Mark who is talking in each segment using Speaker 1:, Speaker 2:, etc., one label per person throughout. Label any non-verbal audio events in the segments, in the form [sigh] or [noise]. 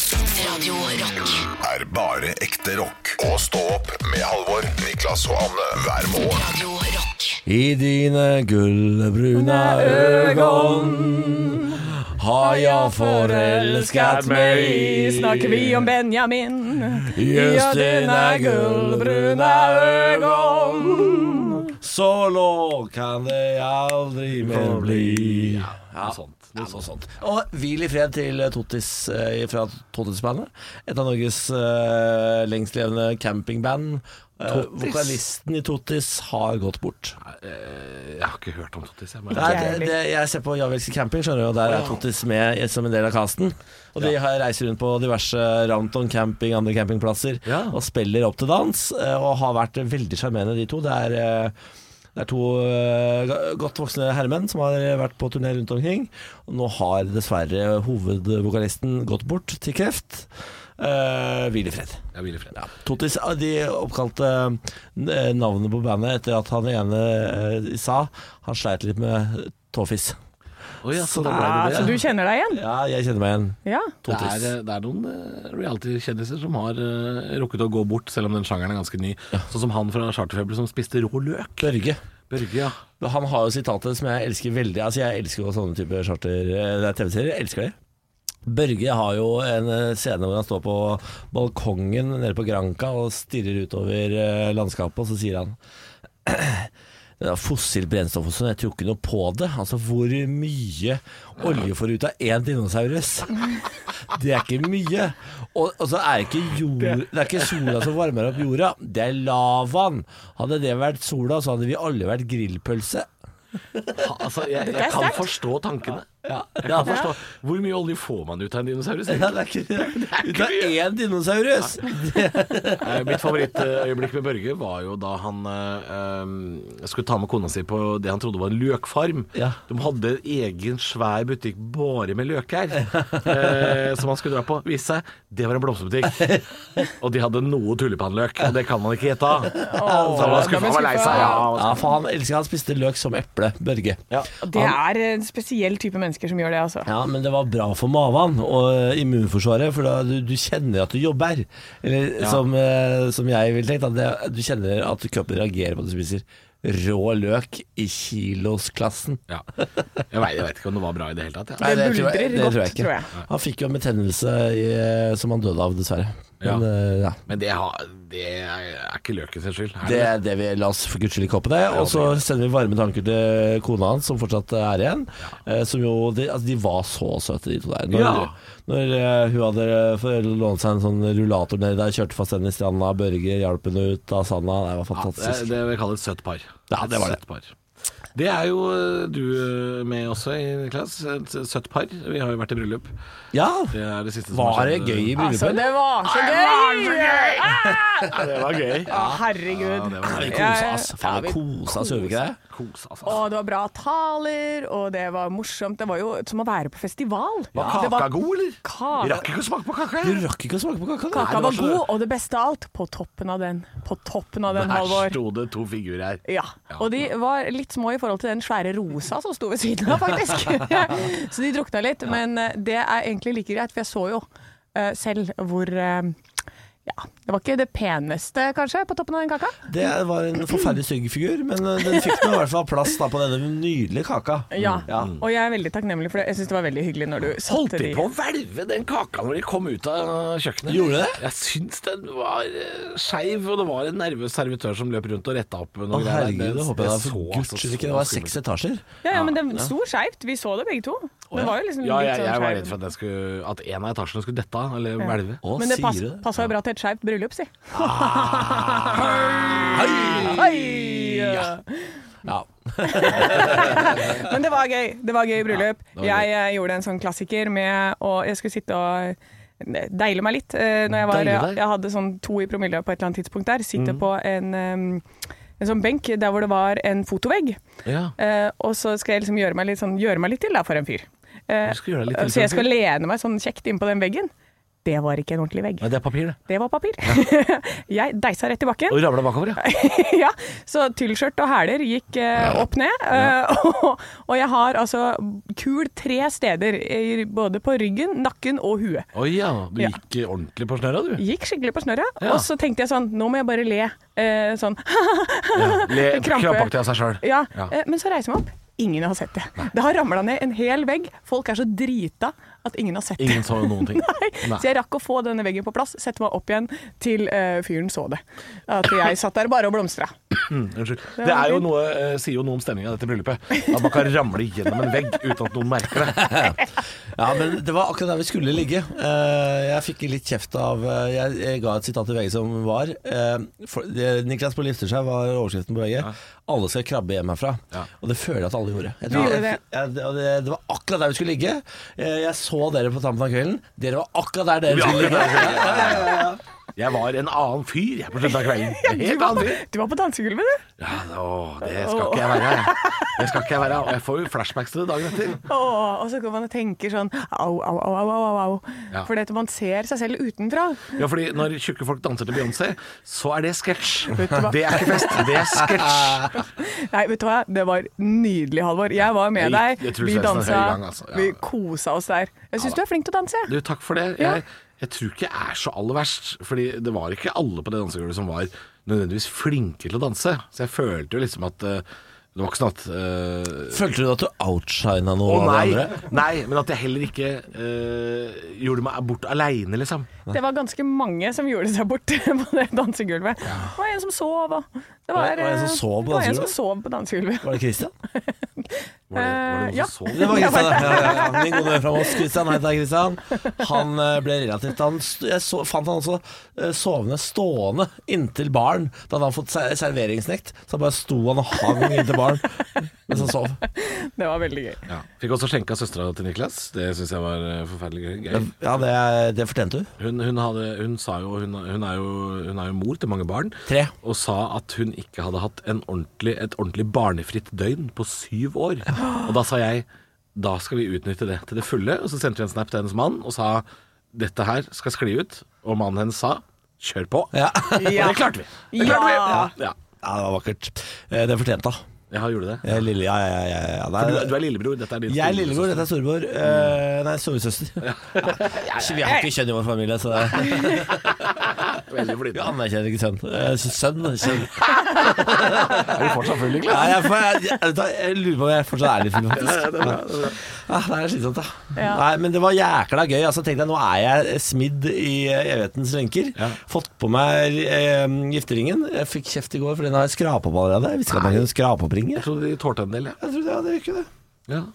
Speaker 1: Radio Rock.
Speaker 2: er bare ekte rock. Og stå opp med Halvor, Niklas og Anne hver morgen.
Speaker 1: Radio Rock.
Speaker 3: I dine gullbrune øgon har jeg forelsket meg.
Speaker 4: Snakker vi om Benjamin?
Speaker 3: Just dine gullbrune øgon. Så lå kan det aldri mer bli. Ja, sånt. Ja, noe sånt. Og hvil i fred til Tottis eh, fra Tottis-bandet. Et av Norges eh, lengstlevende campingband. Eh,
Speaker 5: Tottis?
Speaker 3: vokalisten i Tottis har gått bort.
Speaker 5: Jeg har ikke hørt om Tottis. Jeg, bare-
Speaker 3: Nei,
Speaker 4: Ikke jeg
Speaker 3: det, det, jeg ser på Javelske camping, skjønner du, og der er Tottis med i- som en del av casten. Og de har reiser rundt på diverse Ramton camping, andre campingplasser,
Speaker 5: Ja.
Speaker 3: og spiller opp til dans. eh, Og har vært veldig sjarmerende, de to. Det er, eh, det er to eh, ga- godt voksne herremenn som har vært på turné rundt omkring. Og nå har dessverre hovedvokalisten gått bort til kreft. Eh, hvil i fred.
Speaker 5: jeg vil i fred.
Speaker 3: Ja. Totis, ah, de oppkalte eh, navnet på bandet etter at han ene eh, sa han sleit litt med tåfis.
Speaker 5: Oi, ja, så da
Speaker 4: Ah,
Speaker 5: ble
Speaker 4: så du
Speaker 5: det det.
Speaker 4: kjenner deg igjen?
Speaker 3: Ja, jeg kjenner meg igjen.
Speaker 4: Ja.
Speaker 5: Det
Speaker 3: Tottis.
Speaker 5: er, det er noen eh, reality-kjendiser som har eh, rukket å gå bort, selv om den sjangeren er ganske ny. Sånn som han fra Charterfeber som spiste rå løk.
Speaker 3: Børge.
Speaker 5: Børge, ja.
Speaker 3: Han har jo sitatet som jeg elsker veldig. Altså, jeg elsker jo sånne typer charter... eh, Det er TV-serier. Jeg elsker det. Børge har jo en eh, scene hvor han står på balkongen nede på Granca og stirrer utover eh, landskapet, og så sier han det er fossilt brennstoff og sånn, jeg tror ikke noe på det. Altså, hvor mye olje får du ut av én dinosaurus? Det er ikke mye. Og, og så er det ikke, jord, det er ikke sola som varmer opp jorda, det er lavaen. Hadde det vært sola, så hadde vi alle vært grillpølse.
Speaker 5: Ha- Altså, jeg,
Speaker 4: er
Speaker 5: jeg kan
Speaker 4: sterkt.
Speaker 5: forstå tankene.
Speaker 3: Ja,
Speaker 5: Jeg kan forstå. Hvor mye olje får man ut av en dinosaurus?
Speaker 3: Ja, det er ikke Ut av én dinosaurus!
Speaker 5: Eh, Mitt favorittøyeblikk med Børge var jo da han eh, eh, skulle ta med kona si på det han trodde var en løkfarm.
Speaker 3: Ja.
Speaker 5: De hadde egen svær butikk bare med løker eh, som han skulle dra på. Viste seg, det var en blomsterbutikk. Og de hadde noe tulipanløk, og det kan man ikke gjette av. Så han var
Speaker 4: da
Speaker 5: skuffa
Speaker 4: ble
Speaker 5: og lei seg. Ja, han var
Speaker 3: Ja, for han elsker Han spiste løk som eple, Børge.
Speaker 5: Ja.
Speaker 4: Det er en spesiell type mennesker som gjør det, altså.
Speaker 3: Ja, men det var bra for maven og immunforsvaret, for da du, du kjenner at du jobber. Eller som, eh, som jeg ville tenkt, at det, du kjenner at kroppen reagerer på at du spiser rå løk i kilosklassen.
Speaker 5: Ja. Jeg veit jeg vet ikke om det var bra i det hele tatt. Ja.
Speaker 3: Nei, det tror
Speaker 4: buldrer
Speaker 3: jeg, det
Speaker 4: godt,
Speaker 3: tror jeg ikke.
Speaker 4: tror jeg.
Speaker 3: Han fikk jo en betennelse i, eh, som han døde av, dessverre.
Speaker 5: Ja.
Speaker 3: Men eh, ja.
Speaker 5: Men det, har, det er ikke løken sin skyld. Er
Speaker 3: Det er det vi La oss for guds skyld ikke håpe det. Og så sender vi varme tanker til kona hans, som fortsatt er igjen. Eh, Som jo, de, altså, de var så søte, de to der. Når,
Speaker 5: Ja.
Speaker 3: når eh, hun hadde eh, for- lånt seg en sånn rullator nedi der, kjørte fast den i stranda, Børge hjalp henne ut av sanda. Det var
Speaker 5: Ja, det,
Speaker 3: fantastisk.
Speaker 5: det vil jeg kalle et søtt par.
Speaker 3: Ja, det var det.
Speaker 5: Et søtt par. Det er jo eh, du eh, med også, i Niklas. Et søtt par. Vi har jo vært i bryllup.
Speaker 3: Ja,
Speaker 5: Det sånn- er det siste som
Speaker 3: var
Speaker 5: har
Speaker 3: det
Speaker 5: skjedd. eh,
Speaker 3: gøy i
Speaker 4: Altså,
Speaker 3: bryllupet?
Speaker 4: det var så gøy!
Speaker 5: Ja, det var gøy.
Speaker 4: Å,
Speaker 5: Ja,
Speaker 4: herregud.
Speaker 5: det var
Speaker 3: Vi
Speaker 5: gøy.
Speaker 3: kosa oss. Faen,
Speaker 4: Ja,
Speaker 3: vi
Speaker 4: vi
Speaker 3: kosa oss, gjorde vi ikke det?
Speaker 5: Kos, altså.
Speaker 4: Og det var bra taler, og det var morsomt. Det var jo som å være på festival.
Speaker 5: Var
Speaker 4: Det
Speaker 5: kaka god, eller? Vi
Speaker 4: Kaka,
Speaker 5: rakk ikke å smake på kaka.
Speaker 3: Du
Speaker 5: jeg.
Speaker 3: rakk ikke å smake på kaka? du.
Speaker 4: kaka
Speaker 5: var
Speaker 4: var
Speaker 5: så-
Speaker 4: god, og det beste av alt, på toppen av den. På toppen av den,
Speaker 5: Her
Speaker 4: Halvor.
Speaker 5: sto det to figurer her.
Speaker 4: Ja. Og de var litt små i forhold til den svære rosa som sto ved siden av,
Speaker 5: [laughs]
Speaker 4: faktisk. [laughs] så de drukna litt. Men eh, det er egentlig like greit, for jeg så jo eh, selv hvor eh, ja, Det var ikke det peneste, kanskje, på toppen av den kaka.
Speaker 5: Mm.
Speaker 3: Det var en forferdelig stygg figur, men eh, den fikk nå i hvert fall plass da på denne nydelige kaka.
Speaker 4: Ja. Og jeg er veldig takknemlig for det. Jeg syns det var veldig hyggelig når du
Speaker 5: Holdt
Speaker 4: satte
Speaker 5: de
Speaker 4: de
Speaker 5: på å hvelve den kaka når de kom ut av kjøkkenet?
Speaker 3: Gjorde det?
Speaker 5: Jeg syns den var eh, skeiv, og det var en nervøs servitør som løp rundt og retta opp noe
Speaker 3: Å herregud, det håper jeg da. For
Speaker 5: så
Speaker 3: guds
Speaker 5: altså
Speaker 3: skyld
Speaker 5: så
Speaker 3: ikke. Det var
Speaker 5: skummelt ut.
Speaker 3: seks etasjer.
Speaker 4: Ja, ja, men det sto skeivt. Vi så det begge to. Det var jo liksom
Speaker 5: Ja,
Speaker 4: litt
Speaker 5: jeg,
Speaker 4: sånn
Speaker 5: jeg var
Speaker 4: skeiv.
Speaker 5: redd for at, jeg skulle, at en av etasjene skulle dette av, eller
Speaker 4: [laughs]
Speaker 5: hvelve.
Speaker 3: Å,
Speaker 4: Men det pass,
Speaker 3: sier du det?
Speaker 4: passa jo bra til et skeivt bryllup,
Speaker 5: [laughs]
Speaker 4: si.
Speaker 3: Ja.
Speaker 4: Men det var gøy. Det var gøy bryllup.
Speaker 5: det var gøy.
Speaker 4: Jeg eh, gjorde en sånn klassiker med å Jeg skulle sitte og deile meg litt. eh, Når jeg, var,
Speaker 5: Deile deg? Mm.
Speaker 4: jeg hadde sånn to i promille på et eller annet tidspunkt der. Sitte på en, em, en sånn benk der hvor det var en fotovegg.
Speaker 5: Ja.
Speaker 4: Eh, og så skal jeg liksom gjøre meg litt, sånn, gjøre meg litt til da, for en fyr. Eh,
Speaker 5: Du skal gjøre deg litt til
Speaker 4: så jeg
Speaker 5: for en
Speaker 4: skal lene meg sånn kjekt innpå den veggen. Det var ikke en ordentlig vegg.
Speaker 5: Nei, det er papir, det.
Speaker 4: Det var papir. [laughs] jeg deisa rett i bakken.
Speaker 5: Og ramla bakover, ja.
Speaker 4: [laughs] ja, så tyllskjørt og hæler gikk eh, opp ned. eh, [laughs] og, og jeg har altså kul tre steder, i- både på ryggen, nakken og huet.
Speaker 5: Å ja, du
Speaker 4: Ja.
Speaker 5: gikk ordentlig på snørra, du.
Speaker 4: Gikk skikkelig på snørra.
Speaker 5: Ja.
Speaker 4: Og så tenkte jeg sånn, nå må jeg bare le. eh, sånn. [laughs]
Speaker 5: Ja. Le,
Speaker 4: Krampe.
Speaker 5: krampaktig av seg sjøl.
Speaker 4: Ja.
Speaker 5: Ja.
Speaker 4: eh, men så reiser jeg meg opp. Ingen har sett det. Det har ramla ned en hel vegg. Folk er så drita at ingen har sett det.
Speaker 5: Ingen så noen
Speaker 4: [laughs]
Speaker 5: ting.
Speaker 4: Nei.
Speaker 5: Nei.
Speaker 4: Så jeg rakk å få denne veggen på plass, sette meg opp igjen til eh, fyren så det. At jeg satt der bare og blomstra.
Speaker 5: Mm, Unnskyld.
Speaker 4: var
Speaker 5: Det er jo
Speaker 4: fint.
Speaker 5: noe, eh, sier jo noe om stemninga i dette bryllupet. At man kan ramle gjennom en vegg uten at noen merker det.
Speaker 3: Ja, men det var akkurat der vi skulle ligge. Eh, jeg fikk litt kjeft av eh, jeg, jeg ga et sitat til VG som var eh, for, det, Niklas på gifter seg var overskriften på VG. Alle skal krabbe hjem herfra.
Speaker 5: Ja.
Speaker 3: Og det føler jeg at alle gjorde. Jeg
Speaker 4: Du
Speaker 3: tror-
Speaker 4: gjorde det.
Speaker 3: jeg- jeg- og det, det var akkurat der vi skulle ligge. Eh, jeg så dere på tampen av kvelden. Dere var akkurat der dere
Speaker 5: Vi
Speaker 3: skulle
Speaker 5: akkurat
Speaker 3: ligge.
Speaker 5: der vi ligger. Jeg var en annen fyr jeg på slutten av
Speaker 4: [laughs]
Speaker 5: kvelden. En
Speaker 4: Du
Speaker 5: Helt
Speaker 4: var,
Speaker 5: annen fyr.
Speaker 4: du var på dansegulvet, du.
Speaker 5: Ja, å, det skal ikke jeg være. Det skal ikke jeg være. Og jeg får jo flashbacks til det dagen etter.
Speaker 4: Åh, og så går man og tenker sånn au, au, au, au, au, au.
Speaker 5: Ja.
Speaker 4: Fordi at man ser seg selv utenfra.
Speaker 5: Ja, fordi når tjukke folk danser til Beyoncé, så er det sketsj.
Speaker 4: Vet du hva?
Speaker 5: Det er ikke fest, det er sketsj.
Speaker 4: [laughs] Nei, vet du hva? Det var nydelig, Halvor. Jeg var med
Speaker 5: Jeg-
Speaker 4: deg.
Speaker 5: jeg tror
Speaker 4: vi
Speaker 5: det er en
Speaker 4: dansa.
Speaker 5: høy gang, altså. Ja.
Speaker 4: Vi kosa oss der. Jeg syns du er flink til å danse.
Speaker 5: Du, takk for det. Jeg, jeg tror ikke jeg er så aller verst, fordi det var ikke alle på det dansegulvet som var nødvendigvis flinke til å danse. Så jeg følte jo liksom at eh, det var ikke sånn at eh,
Speaker 3: [laughs] Følte du at du outshina noe
Speaker 5: Å
Speaker 3: av det
Speaker 5: nei,
Speaker 3: andre?
Speaker 5: nei, men at jeg heller ikke eh, gjorde meg bort aleine, liksom.
Speaker 4: Det var ganske mange som gjorde seg bort [laughs] på det dansegulvet. Det var en som sov, og det var, eh,
Speaker 3: Var det en som sov på
Speaker 4: det var en som
Speaker 3: dansegulvet?
Speaker 4: sov på dansegulvet.
Speaker 3: Var det Christian?
Speaker 5: Var det, var det noen
Speaker 4: Eh, ja.
Speaker 5: som så?
Speaker 3: Det var Kristian, [laughs] ja. ja, ja. Min gode venn fra Moss, Kristian. Hei til deg, Kristian. Han eh, ble relativt han, st- Jeg så, fant han også eh, sovende stående inntil baren. Da hadde han fått ser- serveringsnekt, så bare sto han og hang inntil baren mens han sov.
Speaker 4: Det var veldig gøy.
Speaker 5: Ja. Fikk også skjenke av søstera til Niklas. Det syns jeg var eh, forferdelig gøy.
Speaker 3: Ja, det, det fortjente du.
Speaker 5: Hun, hun, hadde, hun sa jo hun, hun, er jo hun er jo mor til mange barn.
Speaker 3: Tre.
Speaker 5: Og sa at hun ikke hadde hatt en ordentlig, et ordentlig barnefritt døgn på syv år. Og da sa jeg da skal vi utnytte det til det fulle. Og så sendte vi en snap til hennes mann og sa dette her skal skli ut. Og mannen hennes sa kjør på.
Speaker 3: Ja,
Speaker 5: Og det klarte vi. Det klarte
Speaker 4: Ja.
Speaker 5: vi. Ja.
Speaker 3: ja det var vakkert. Eh, Det fortjente hun.
Speaker 5: Ja, jeg gjorde det.
Speaker 3: Eh, Lille, ja, ja, ja, ja, ja.
Speaker 5: Du,
Speaker 3: Det er-
Speaker 5: du er lillebror, dette er din
Speaker 3: Jeg er
Speaker 5: store
Speaker 3: lillebror, dette er storebror. Eh, Nei, storesøster. [laughs] Vi har ikke kjønn i vår familie, så det
Speaker 5: søster. Veldig
Speaker 3: Vi
Speaker 5: flytende.
Speaker 3: anerkjenner ikke sønn. Eh, Sønn? sønn.
Speaker 5: [laughs] Er du fortsatt full, Niklas?
Speaker 3: Nei, jeg, får- jeg, jeg, vet du hva, jeg lurer på om jeg fortsatt er litt full, faktisk.
Speaker 5: Ja, det er bra, det er bra.
Speaker 3: Ja, det er slitsomt, da.
Speaker 4: Ja.
Speaker 3: Nei, men det var jækla gøy. Altså, tenk deg, nå er jeg smidd i eh, evighetens lenker.
Speaker 5: Ja.
Speaker 3: Fått på meg eh, gifteringen. Jeg fikk kjeft i går, for den har jeg skrapa opp allerede. Jeg visste ikke at man kunne skrape opp ringer.
Speaker 5: Jeg trodde de tålte en del, jeg.
Speaker 3: Jeg trodde ja, det gjør ikke det.
Speaker 5: Ja.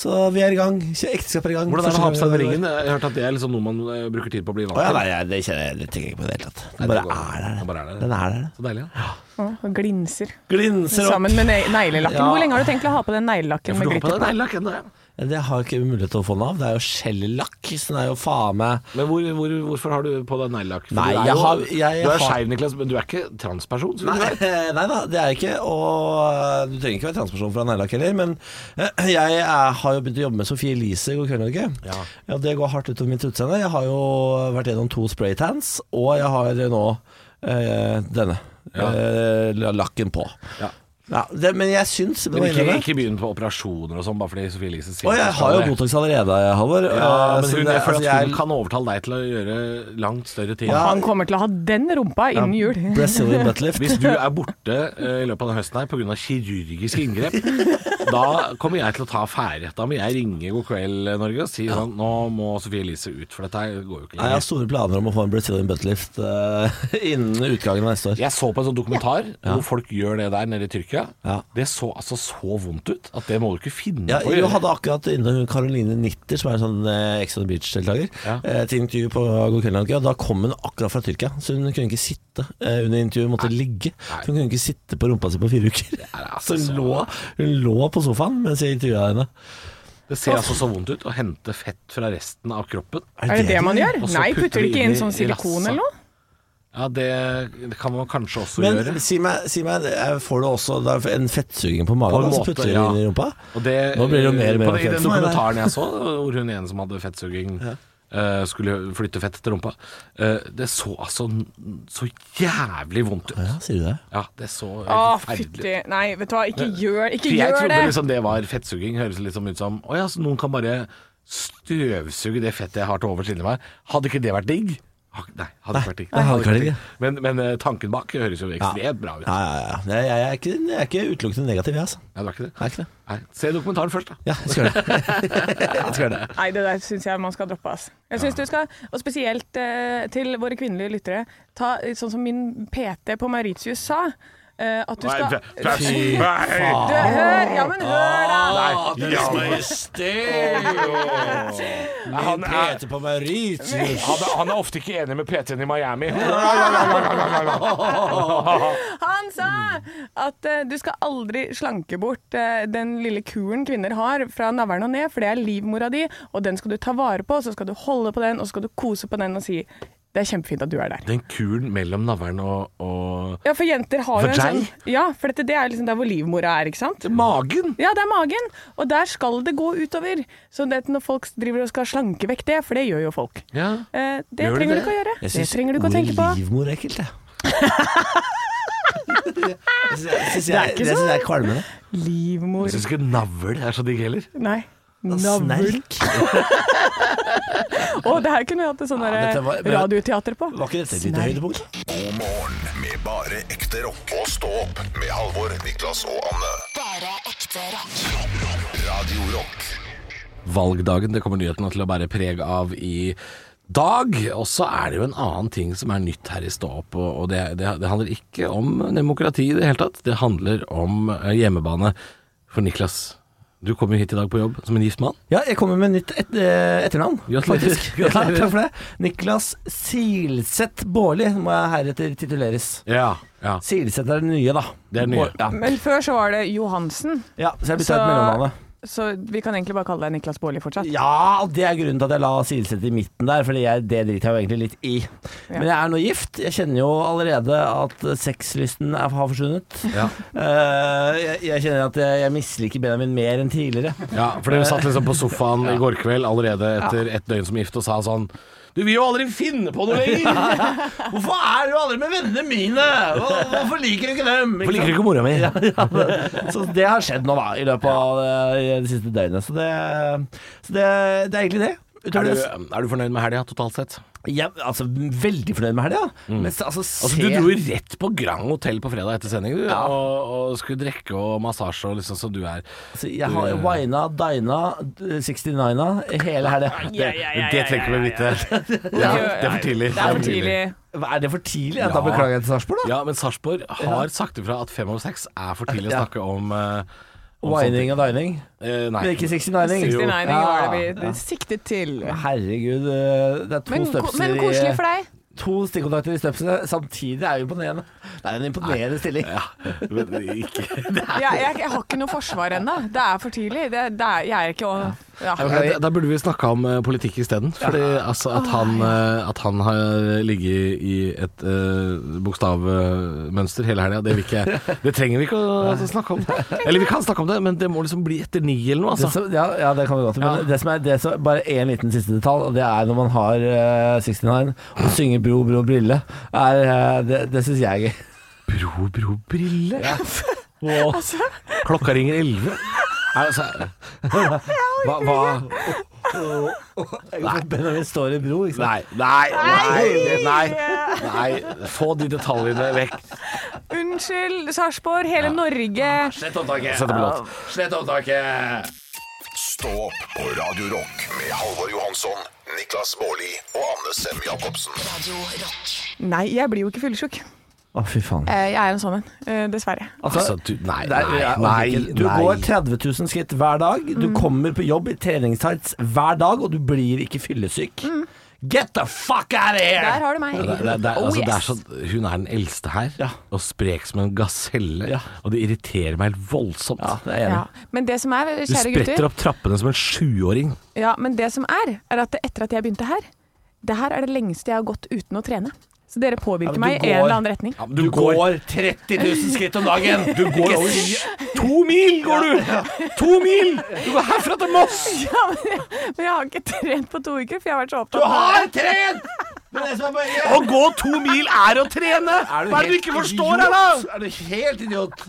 Speaker 3: Så vi er i gang. Kje- Ekteskap er i gang.
Speaker 5: Hvordan er det å ha på seg den
Speaker 3: Første gang-
Speaker 5: ringen? Jeg har hørt at det er liksom noe man eh, bruker tid på å bli vant
Speaker 3: Å, ja,
Speaker 5: til.
Speaker 3: nei, jeg- det kjenner jeg det tenker jeg ikke på i det hele tatt. Den
Speaker 5: Nei,
Speaker 3: bare
Speaker 5: det går-
Speaker 3: er der.
Speaker 5: den bare er der.
Speaker 3: Den er der.
Speaker 5: Så deilig, ja.
Speaker 4: Åh, Og glinser.
Speaker 3: Glinser opp.
Speaker 4: Sammen med ne neglelakken.
Speaker 3: Ja.
Speaker 4: Hvor lenge har du tenkt å ha på den
Speaker 5: Ja,
Speaker 4: neglelakken
Speaker 5: for
Speaker 4: med
Speaker 5: du har på
Speaker 4: glitter?
Speaker 5: deg neglelakk ennå, ja.
Speaker 3: Ja, Det har jeg ikke mulighet til å få den av. Det er jo skjellakk. Så den er jo faen meg
Speaker 5: Men hvor, hvor, hvorfor har du på deg neglelakk? For
Speaker 3: Nei,
Speaker 5: du er
Speaker 3: jeg
Speaker 5: jo-
Speaker 3: har- jeg
Speaker 5: Du er
Speaker 3: har-
Speaker 5: skeiv, Niklas, men du er ikke transperson. Så
Speaker 3: Nei, eh, nei da, det er jeg ikke. Og eh, du trenger ikke være transperson for å ha neglelakk heller. Men eh, jeg er, har jo begynt å jobbe med Sofie Elise i God kveld, Norge.
Speaker 5: Ja.
Speaker 3: Ja, det går hardt utover mitt utseende. Jeg har jo vært gjennom to spraytans, og jeg har nå eh, denne.
Speaker 5: Ja.
Speaker 3: Eh, la- lakken på.
Speaker 5: Ja.
Speaker 3: Ja, det, men jeg syns
Speaker 5: Men ikke, ikke begynn på operasjoner og sånn, bare fordi Sophie Elise sier
Speaker 3: Og jeg
Speaker 5: at
Speaker 3: har
Speaker 5: du skal
Speaker 3: jo
Speaker 5: det.
Speaker 3: Botox allerede, Halvor.
Speaker 5: Ja,
Speaker 3: Eh,
Speaker 5: men
Speaker 3: så
Speaker 5: hun,
Speaker 3: det-
Speaker 5: jeg
Speaker 3: altså,
Speaker 5: føler at hun
Speaker 3: jeg-
Speaker 5: kan overtale deg til å gjøre langt større ting.
Speaker 4: Han kommer til å ha den rumpa innen jul.
Speaker 3: Brazilian butt lift.
Speaker 5: Hvis du er borte eh, i løpet av denne høsten her pga. kirurgiske inngrep, da kommer jeg til å ta affære. Da må jeg ringe God kveld Norge og si sånn Nå må Sophie Elise ut, for dette her går jo ikke
Speaker 3: Nei, Jeg har
Speaker 5: lenger.
Speaker 3: store planer om å få en Brazilian buttlift uh, [laughs] innen utgangen av neste år.
Speaker 5: Jeg så på en sånn dokumentar hvor folk gjør det der nede i Tyrkia.
Speaker 3: Ja.
Speaker 5: Det så altså så vondt ut at det må du ikke finne
Speaker 3: Ja,
Speaker 5: på å
Speaker 3: jeg
Speaker 5: gjøre.
Speaker 3: hadde akkurat inne hun Caroline Nitter, som er en sånn eh, Ex on the Beach-deltaker,
Speaker 5: Ja.
Speaker 3: eh, til intervju på God kveld Norge. Og da kom hun akkurat fra Tyrkia, så hun kunne ikke sitte eh, under intervjuet. Hun måtte ligge.
Speaker 5: Nei.
Speaker 3: Så hun kunne ikke sitte på rumpa si på fire uker. [laughs]
Speaker 5: altså
Speaker 3: så hun,
Speaker 5: så-
Speaker 3: lå, hun lå på sofaen mens jeg intervjua henne.
Speaker 5: Det ser altså så vondt ut å hente fett fra resten av kroppen.
Speaker 4: Er det det man gjør?
Speaker 5: Og så
Speaker 4: Nei,
Speaker 5: putter
Speaker 4: putter du
Speaker 5: de
Speaker 4: ikke
Speaker 5: inn
Speaker 4: inn
Speaker 5: i-
Speaker 4: sånn
Speaker 5: i
Speaker 4: silikon
Speaker 5: rassa.
Speaker 4: eller noe?
Speaker 5: Ja, det, det kan man kanskje også gjøre.
Speaker 3: Men si meg, si meg, eh, får du også da, en fettsuging på
Speaker 5: På
Speaker 3: magen?
Speaker 5: en
Speaker 3: da,
Speaker 5: måte,
Speaker 3: så putter du
Speaker 5: ja.
Speaker 3: den inn i rumpa?
Speaker 5: Og det,
Speaker 3: Nå blir det jo mer og mer
Speaker 5: på den- I
Speaker 3: aktuelt
Speaker 5: den
Speaker 3: for meg, det.
Speaker 5: dokumentaren jeg så, hvor hun ene som hadde fettsuging eh, skulle flytte fett til rumpa. Eh, det så altså n- så jævlig vondt ut.
Speaker 3: Ja, sier du det?
Speaker 5: Ja, det så
Speaker 4: Å,
Speaker 5: helt forferdelig ut.
Speaker 4: fytti. Nei, vet du hva, ikke gjør, ikke
Speaker 5: For jeg
Speaker 4: gjør
Speaker 5: trodde
Speaker 4: det!
Speaker 5: liksom det var fettsuging. Høres liksom ut som Å ja, så noen kan bare støvsuge det fettet jeg har til overs inni meg. Hadde ikke det vært digg? Ha- Nei, hadde ikke vært digg.
Speaker 3: det hadde ikke vært digg.
Speaker 5: Men, men eh, tanken bak høres jo ekstremt bra ut.
Speaker 3: Ja, ja, ja. Jeg, jeg, er ikke, jeg er ikke utelukkende negativ, jeg, altså.
Speaker 5: Ja, det var ikke det.
Speaker 3: Jeg er ikke det.
Speaker 5: Nei. Se dokumentaren først, da.
Speaker 3: Ja, jeg
Speaker 4: [laughs]
Speaker 3: skal gjøre det. jeg skal gjøre det.
Speaker 4: Nei, det der syns jeg man skal droppe. Ass. Jeg synes du skal, Og spesielt eh, til våre kvinnelige lyttere, ta eh, sånn som min PT på Mauritius sa. eh, at du skal
Speaker 5: Fy faen.
Speaker 4: du, hør, Ja, men hør, da!
Speaker 5: Ja, men-
Speaker 3: Han Peter på Mauritius.
Speaker 5: Han, er- han er ofte ikke enig med PT-en i
Speaker 3: [laughs]
Speaker 5: Miami.
Speaker 4: Han sa at eh, du skal aldri slanke bort eh, den lille kuren kvinner har fra navlen og ned, for det er livmora di, og den skal du ta vare på, så skal du holde på den, og så skal du kose på den og si det er kjempefint at du er der.
Speaker 5: Den kuren mellom navlen og, og
Speaker 4: Ja, for jenter har jo en sånn
Speaker 5: Vagina?
Speaker 4: Ja, for dette, det er liksom der hvor livmora er, ikke sant?
Speaker 5: Magen!
Speaker 4: Ja, det er magen, og der skal det gå utover. Så det at når folk driver og skal slanke vekk det, for det gjør jo folk.
Speaker 5: Ja.
Speaker 4: Eh, det
Speaker 5: Gjør de
Speaker 4: trenger
Speaker 5: det?
Speaker 4: du ikke å gjøre. Det trenger du ikke å tenke på.
Speaker 3: livmor er ekkelt, jeg. Jeg synes- jeg synes
Speaker 4: er
Speaker 3: jeg-
Speaker 4: ikke
Speaker 3: Det syns
Speaker 4: så-
Speaker 3: jeg er kvalmende.
Speaker 5: Jeg
Speaker 4: Livmor
Speaker 5: syns ikke navl er så digg heller.
Speaker 4: Nei. Navl.
Speaker 3: Snerk.
Speaker 4: Å, det her kunne vi hatt et sånn
Speaker 3: Ja, dette
Speaker 4: derre
Speaker 3: var- men-
Speaker 4: radioteater på.
Speaker 3: Var ikke dette et lite
Speaker 4: Snerk.
Speaker 3: høydepunkt?
Speaker 2: God morgen med bare ekte rock. Og stå opp med Halvor, Niklas og Anne.
Speaker 1: Bare ekte rock.
Speaker 2: Radio Rock.
Speaker 5: Valgdagen, det kommer nyhetene til å bære preg av i dag. Og så er det jo en annen ting som er nytt her i Stå opp, og og det, det, det handler ikke om demokrati i det hele tatt. Det handler om eh, hjemmebane. For Niklas, du kom jo hit i dag på jobb som en gift mann.
Speaker 3: Ja, jeg kommer med nytt et, eh, etternavn,
Speaker 5: Gratulerer.
Speaker 3: faktisk. Ja, takk for det. Niklas Silseth Baarli må jeg heretter tituleres.
Speaker 5: Ja, ja.
Speaker 3: Silseth er den nye, da.
Speaker 5: Det er den nye.
Speaker 3: Ja.
Speaker 4: Men før så var det Johansen,
Speaker 3: ja, så jeg bytta
Speaker 4: Så-
Speaker 3: ut mellomnavnet.
Speaker 4: så vi kan egentlig bare kalle deg Niklas Baarli fortsatt.
Speaker 3: Ja, og det er grunnen til at jeg la Silseth i midten der, Fordi jeg, det driter jeg jo egentlig litt i. Men jeg er nå gift. Jeg kjenner jo allerede at sexlysten er, har forsvunnet.
Speaker 5: Ja.
Speaker 3: Eh, jeg, jeg kjenner at jeg, jeg misliker Benjamin mer enn tidligere.
Speaker 5: Ja, for dere satt liksom på sofaen [laughs] i går kveld allerede etter ett døgn som gift og sa sånn Du vil jo aldri finne på noe lenger!
Speaker 3: Hvorfor er du aldri med vennene mine? Hvor- Hvorfor liker du ikke dem?
Speaker 5: Hvorfor liker du ikke mora mi?
Speaker 3: Så det har skjedd nå, da, i løpet av eh, det siste døgnet. Så det, så det, det er egentlig det.
Speaker 5: [laughs] Er
Speaker 3: Utover
Speaker 5: du,
Speaker 3: det
Speaker 5: er du fornøyd med helga totalt sett?
Speaker 3: jeg er altså, veldig fornøyd med helga. Men så- altså, se
Speaker 5: Altså, du dro jo rett på Grand Hotell på fredag etter sending, du. Og, og skulle drikke og massasje og liksom så du er
Speaker 3: altså, Jeg har wina, dina, 69-a hele helga.
Speaker 5: Det, det trenger ikke vi vite. [laughs] Ja, det er for tidlig.
Speaker 4: Det er for tidlig.
Speaker 3: Er det for tidlig? Da
Speaker 5: Ja.
Speaker 3: beklager jeg til Sarpsborg, da.
Speaker 5: Ja, men Sarpsborg har sagt ifra at fem av seks er for tidlig å
Speaker 3: Ja.
Speaker 5: snakke om, eh, om sånne ting.
Speaker 3: Wining og dining.
Speaker 5: Eh, nei.
Speaker 3: Men ikke 69-ing.
Speaker 4: 69
Speaker 3: Jo.
Speaker 4: var det vi
Speaker 3: Ja.
Speaker 4: siktet til.
Speaker 3: Herregud, eh, det er to
Speaker 4: Men, ko-
Speaker 3: støpsler
Speaker 4: men koselig for deg.
Speaker 3: To stikkontakter i støpselet samtidig er jo imponerende. Det er en imponerende stilling.
Speaker 5: Ja, [laughs] men ikke
Speaker 4: Jeg, jeg, jeg har ikke noe forsvar ennå. Det er for tidlig. Det, det er, jeg er ikke å- ja.
Speaker 5: Ja, da- Da burde vi snakka om eh, politikk isteden. Fordi altså, at, han, eh, at han har ligget i et eh, bokstavmønster hele helga, det, vil ikke [laughs] jeg- det trenger vi ikke å altså, [laughs] snakke om. Eller vi kan snakke om det, men det må liksom bli etter ni eller noe.
Speaker 3: Det
Speaker 5: Altså.
Speaker 3: som, ja, ja, det kan vi godt. Men
Speaker 5: Ja.
Speaker 3: det som er, det som, bare én liten siste detalj, og det er når man har eh, 69 og synger 'Bro, bro, brille'. Er, eh, det det syns jeg er gøy.
Speaker 5: Bro, bro, Altså. briller. [laughs]
Speaker 3: Wow.
Speaker 5: Klokka ringer elleve. Er det så- Hva, hva?
Speaker 3: Nei, Benjamin står i bro, ikke sant.
Speaker 5: Nei, nei, nei, nei, nei. Få de detaljene vekk.
Speaker 4: Unnskyld, Sarpsborg, hele Norge.
Speaker 5: Sett opp låt.
Speaker 2: Stå opp på Radio Rock med Halvor Johansson, Niklas Baarli og Anne Sem Jacobsen.
Speaker 1: Radio rock.
Speaker 4: Nei, jeg blir jo ikke fyllesyk.
Speaker 3: Å, fy faen.
Speaker 4: Eh, Jeg er en sånn en, eh, dessverre.
Speaker 5: Altså, du, nei,
Speaker 3: Det er-
Speaker 5: nei,
Speaker 3: jeg orker
Speaker 5: nei,
Speaker 3: ikke. du
Speaker 5: nei.
Speaker 3: går 30 000 skritt hver dag, du
Speaker 4: Mm.
Speaker 3: kommer på jobb i treningstights hver dag, og du blir ikke fyllesyk. Get the fuck out of here!
Speaker 4: Mm. Der har du meg.
Speaker 5: Det, er- det, er- det, er-
Speaker 4: Oh,
Speaker 5: altså, det er
Speaker 4: yes.
Speaker 5: sånn, hun er den eldste her,
Speaker 3: Ja.
Speaker 5: og sprek som en gaselle.
Speaker 3: Ja.
Speaker 5: Og det irriterer meg helt voldsomt.
Speaker 3: Ja, det er jeg enig.
Speaker 4: Ja. Men det som er,
Speaker 5: du
Speaker 4: kjære gutter
Speaker 5: spretter opp trappene som en sjuåring.
Speaker 4: Ja, men det som er, er at etter at jeg begynte her Det her er det lengste jeg har gått uten å trene Så dere påvirker
Speaker 3: Ja, men du
Speaker 4: meg i en
Speaker 3: går.
Speaker 4: eller annen retning.
Speaker 5: Ja, men
Speaker 3: Du går 30 000 skritt om dagen!
Speaker 5: Du går over to mil, går du! To mil! Du går herfra til
Speaker 4: [laughs]
Speaker 5: Moss!
Speaker 4: Ja, men, jeg, men jeg har ikke trent på to uker, for jeg har vært så
Speaker 3: Du
Speaker 4: opptatt av
Speaker 3: har trent! Det er det som er poenget.
Speaker 5: Å gå to mil er å trene! Hva er det du ikke forstår her, da?
Speaker 3: Er du helt idiot?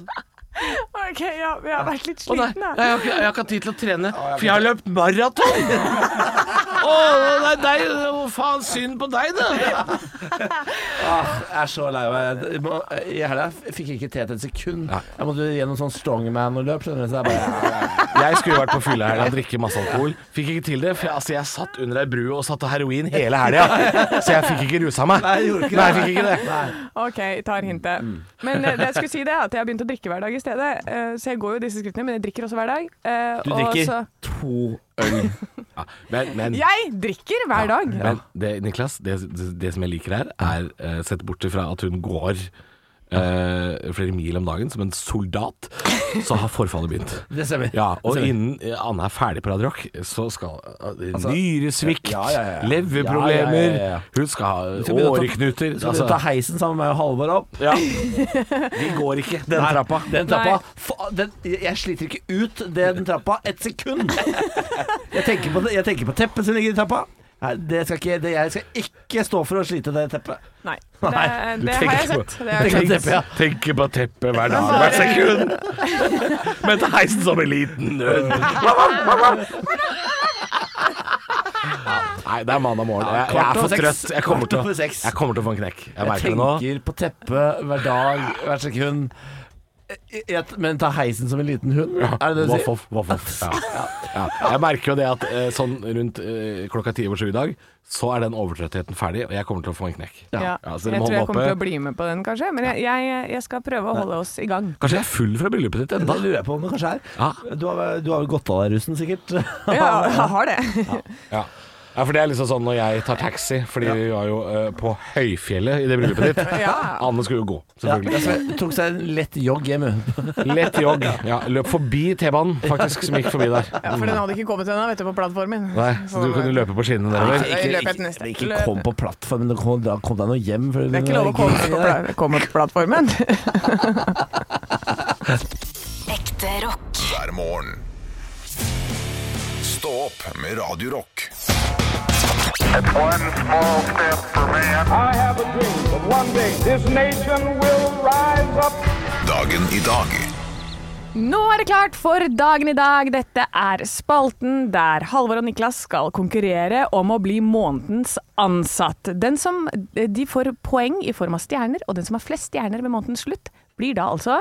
Speaker 4: Ok, ja, men jeg har vært litt
Speaker 5: Å nei,
Speaker 4: sliten,
Speaker 5: nei,
Speaker 4: jeg.
Speaker 5: jeg har, ikke, jeg har ikke hatt tid til å trene, for jeg har løpt [laughs] maraton! Å, nei, nei, å, faen, synd på deg, det.
Speaker 3: Ah, Jeg er så lei meg. Jeg må- I helga fikk jeg ikke trent et sekund.
Speaker 5: Nei.
Speaker 3: Jeg måtte gjennom sånn strongman og løp. Skjønner du? Så det er bare
Speaker 5: Jeg skulle vært på fylla her og drikke masse alkohol. Fikk ikke til det, for jeg, altså, jeg satt under ei bru og satt og heroin hele helga. Så jeg fikk ikke rusa meg.
Speaker 3: Nei, jeg gjorde ikke det.
Speaker 5: Nei, [laughs] jeg fikk ikke det.
Speaker 4: Ok, jeg tar hintet.
Speaker 3: Mm.
Speaker 4: Men eh, det jeg skulle si det er at jeg har begynt å drikke hver dag i stedet. eh, Så jeg går jo disse skrittene, men jeg drikker også hver dag. eh,
Speaker 3: Du
Speaker 4: og
Speaker 3: drikker
Speaker 4: så-
Speaker 3: to øl.
Speaker 5: Ja, men, men,
Speaker 4: Jeg drikker hver dag!
Speaker 5: Men det, Niklas, det, det, det som jeg liker her, er eh, sett bort fra at hun går eh, flere mil om dagen som en soldat, så har forfallet begynt.
Speaker 3: Det stemmer.
Speaker 5: Ja, og
Speaker 3: Det stemmer.
Speaker 5: innen eh, Anne er ferdig på Radio Rock, så skal eh,
Speaker 3: Altså,
Speaker 5: nyresvikt,
Speaker 3: Ja, ja, ja.
Speaker 5: leverproblemer
Speaker 3: Ja, ja, ja, ja.
Speaker 5: Hun skal
Speaker 3: skal
Speaker 5: ha
Speaker 3: begynne å ta-
Speaker 5: åreknuter.
Speaker 3: Så altså,
Speaker 5: altså,
Speaker 3: ta heisen sammen med meg og Halvor opp. [laughs]
Speaker 5: ja. Vi går ikke den
Speaker 3: Nei,
Speaker 5: trappa.
Speaker 3: Den trappa
Speaker 4: Nei.
Speaker 3: Fa, den, jeg sliter ikke ut det, den trappa et
Speaker 5: [laughs]
Speaker 3: sekund. Jeg tenker på, det- jeg tenker på teppet som ligger i trappa. Nei, det skal ikke, det, jeg skal ikke stå for å slite det teppet.
Speaker 4: Nei.
Speaker 3: Nei,
Speaker 4: Det, det har jeg sett. Det har
Speaker 3: tenker
Speaker 4: jeg
Speaker 3: på
Speaker 4: sett.
Speaker 3: teppet, ja.
Speaker 5: Tenker på teppet hver dag, hvert sekund. [laughs] Men ta heisen som en liten hund. Nei, det er mandag morgen. Jeg, jeg
Speaker 3: Kvart
Speaker 5: er
Speaker 3: over
Speaker 5: for
Speaker 3: seks.
Speaker 5: trøtt. Jeg kommer,
Speaker 3: Kvart
Speaker 5: til
Speaker 3: over
Speaker 5: å,
Speaker 3: seks.
Speaker 5: jeg kommer til å få en knekk. Jeg
Speaker 3: Jeg
Speaker 5: merker det nå.
Speaker 3: tenker på teppet hver dag, hvert sekund. Jeg- jeg- Men ta heisen som en liten hund? Er det det du
Speaker 5: Voff,
Speaker 3: sier?
Speaker 5: voff, voff, voff. Ja. Ja. Jeg merker jo det at eh, sånn rundt eh, klokka ti over sju i dag, så er den overtrøttheten ferdig, og jeg kommer til å få en knekk.
Speaker 4: Ja.
Speaker 5: Ja,
Speaker 3: altså,
Speaker 5: så dere
Speaker 4: jeg
Speaker 5: må
Speaker 4: tror jeg
Speaker 5: holde
Speaker 4: kommer til
Speaker 5: oppe.
Speaker 4: å bli med på den, kanskje. Men jeg, jeg, jeg skal prøve å holde oss i gang.
Speaker 5: Kanskje jeg er full fra bryllupet ditt
Speaker 3: Da
Speaker 5: ennå?
Speaker 3: lurer jeg på om det kanskje er.
Speaker 5: Ja.
Speaker 3: Du har, du har vel gått av deg russen, sikkert?
Speaker 4: Ja, jeg har det.
Speaker 5: Ja. ja, for det er liksom sånn når jeg tar taxi, fordi vi var jo eh, på høyfjellet i det bryllupet
Speaker 4: [laughs]
Speaker 5: ditt.
Speaker 4: Ja.
Speaker 5: Anne skulle jo gå,
Speaker 3: Ja, altså,
Speaker 5: selvfølgelig.
Speaker 3: jeg tok seg en lett jogg hjem. hun.
Speaker 5: Lett jogg. Ja, løp forbi T-banen, faktisk, som gikk forbi der.
Speaker 4: Ja, for den hadde ikke kommet ennå, vet du, på plattformen.
Speaker 5: Nei, så du kunne løpe på skinnene
Speaker 4: Nei,
Speaker 5: nedover.
Speaker 4: jeg løper etter neste.
Speaker 3: ikke
Speaker 4: Løp.
Speaker 3: kom på plattformen, da kom, da kom deg nå hjem. For,
Speaker 4: Det er ikke lov å komme på, pla- komme på plattformen.
Speaker 1: Ekte rock.
Speaker 2: hver morgen. Stå opp med Radio Rock.
Speaker 6: One small step for man. I have a dream that one day this nation will rise up.
Speaker 2: Dagen i dag.
Speaker 4: [laughs] Nå er det klart for dagen i dag. Dette er spalten der Halvor og Niklas skal konkurrere om å bli månedens ansatt. Den som, de får poeng i form av stjerner, og den som har flest stjerner ved månedens slutt, blir da altså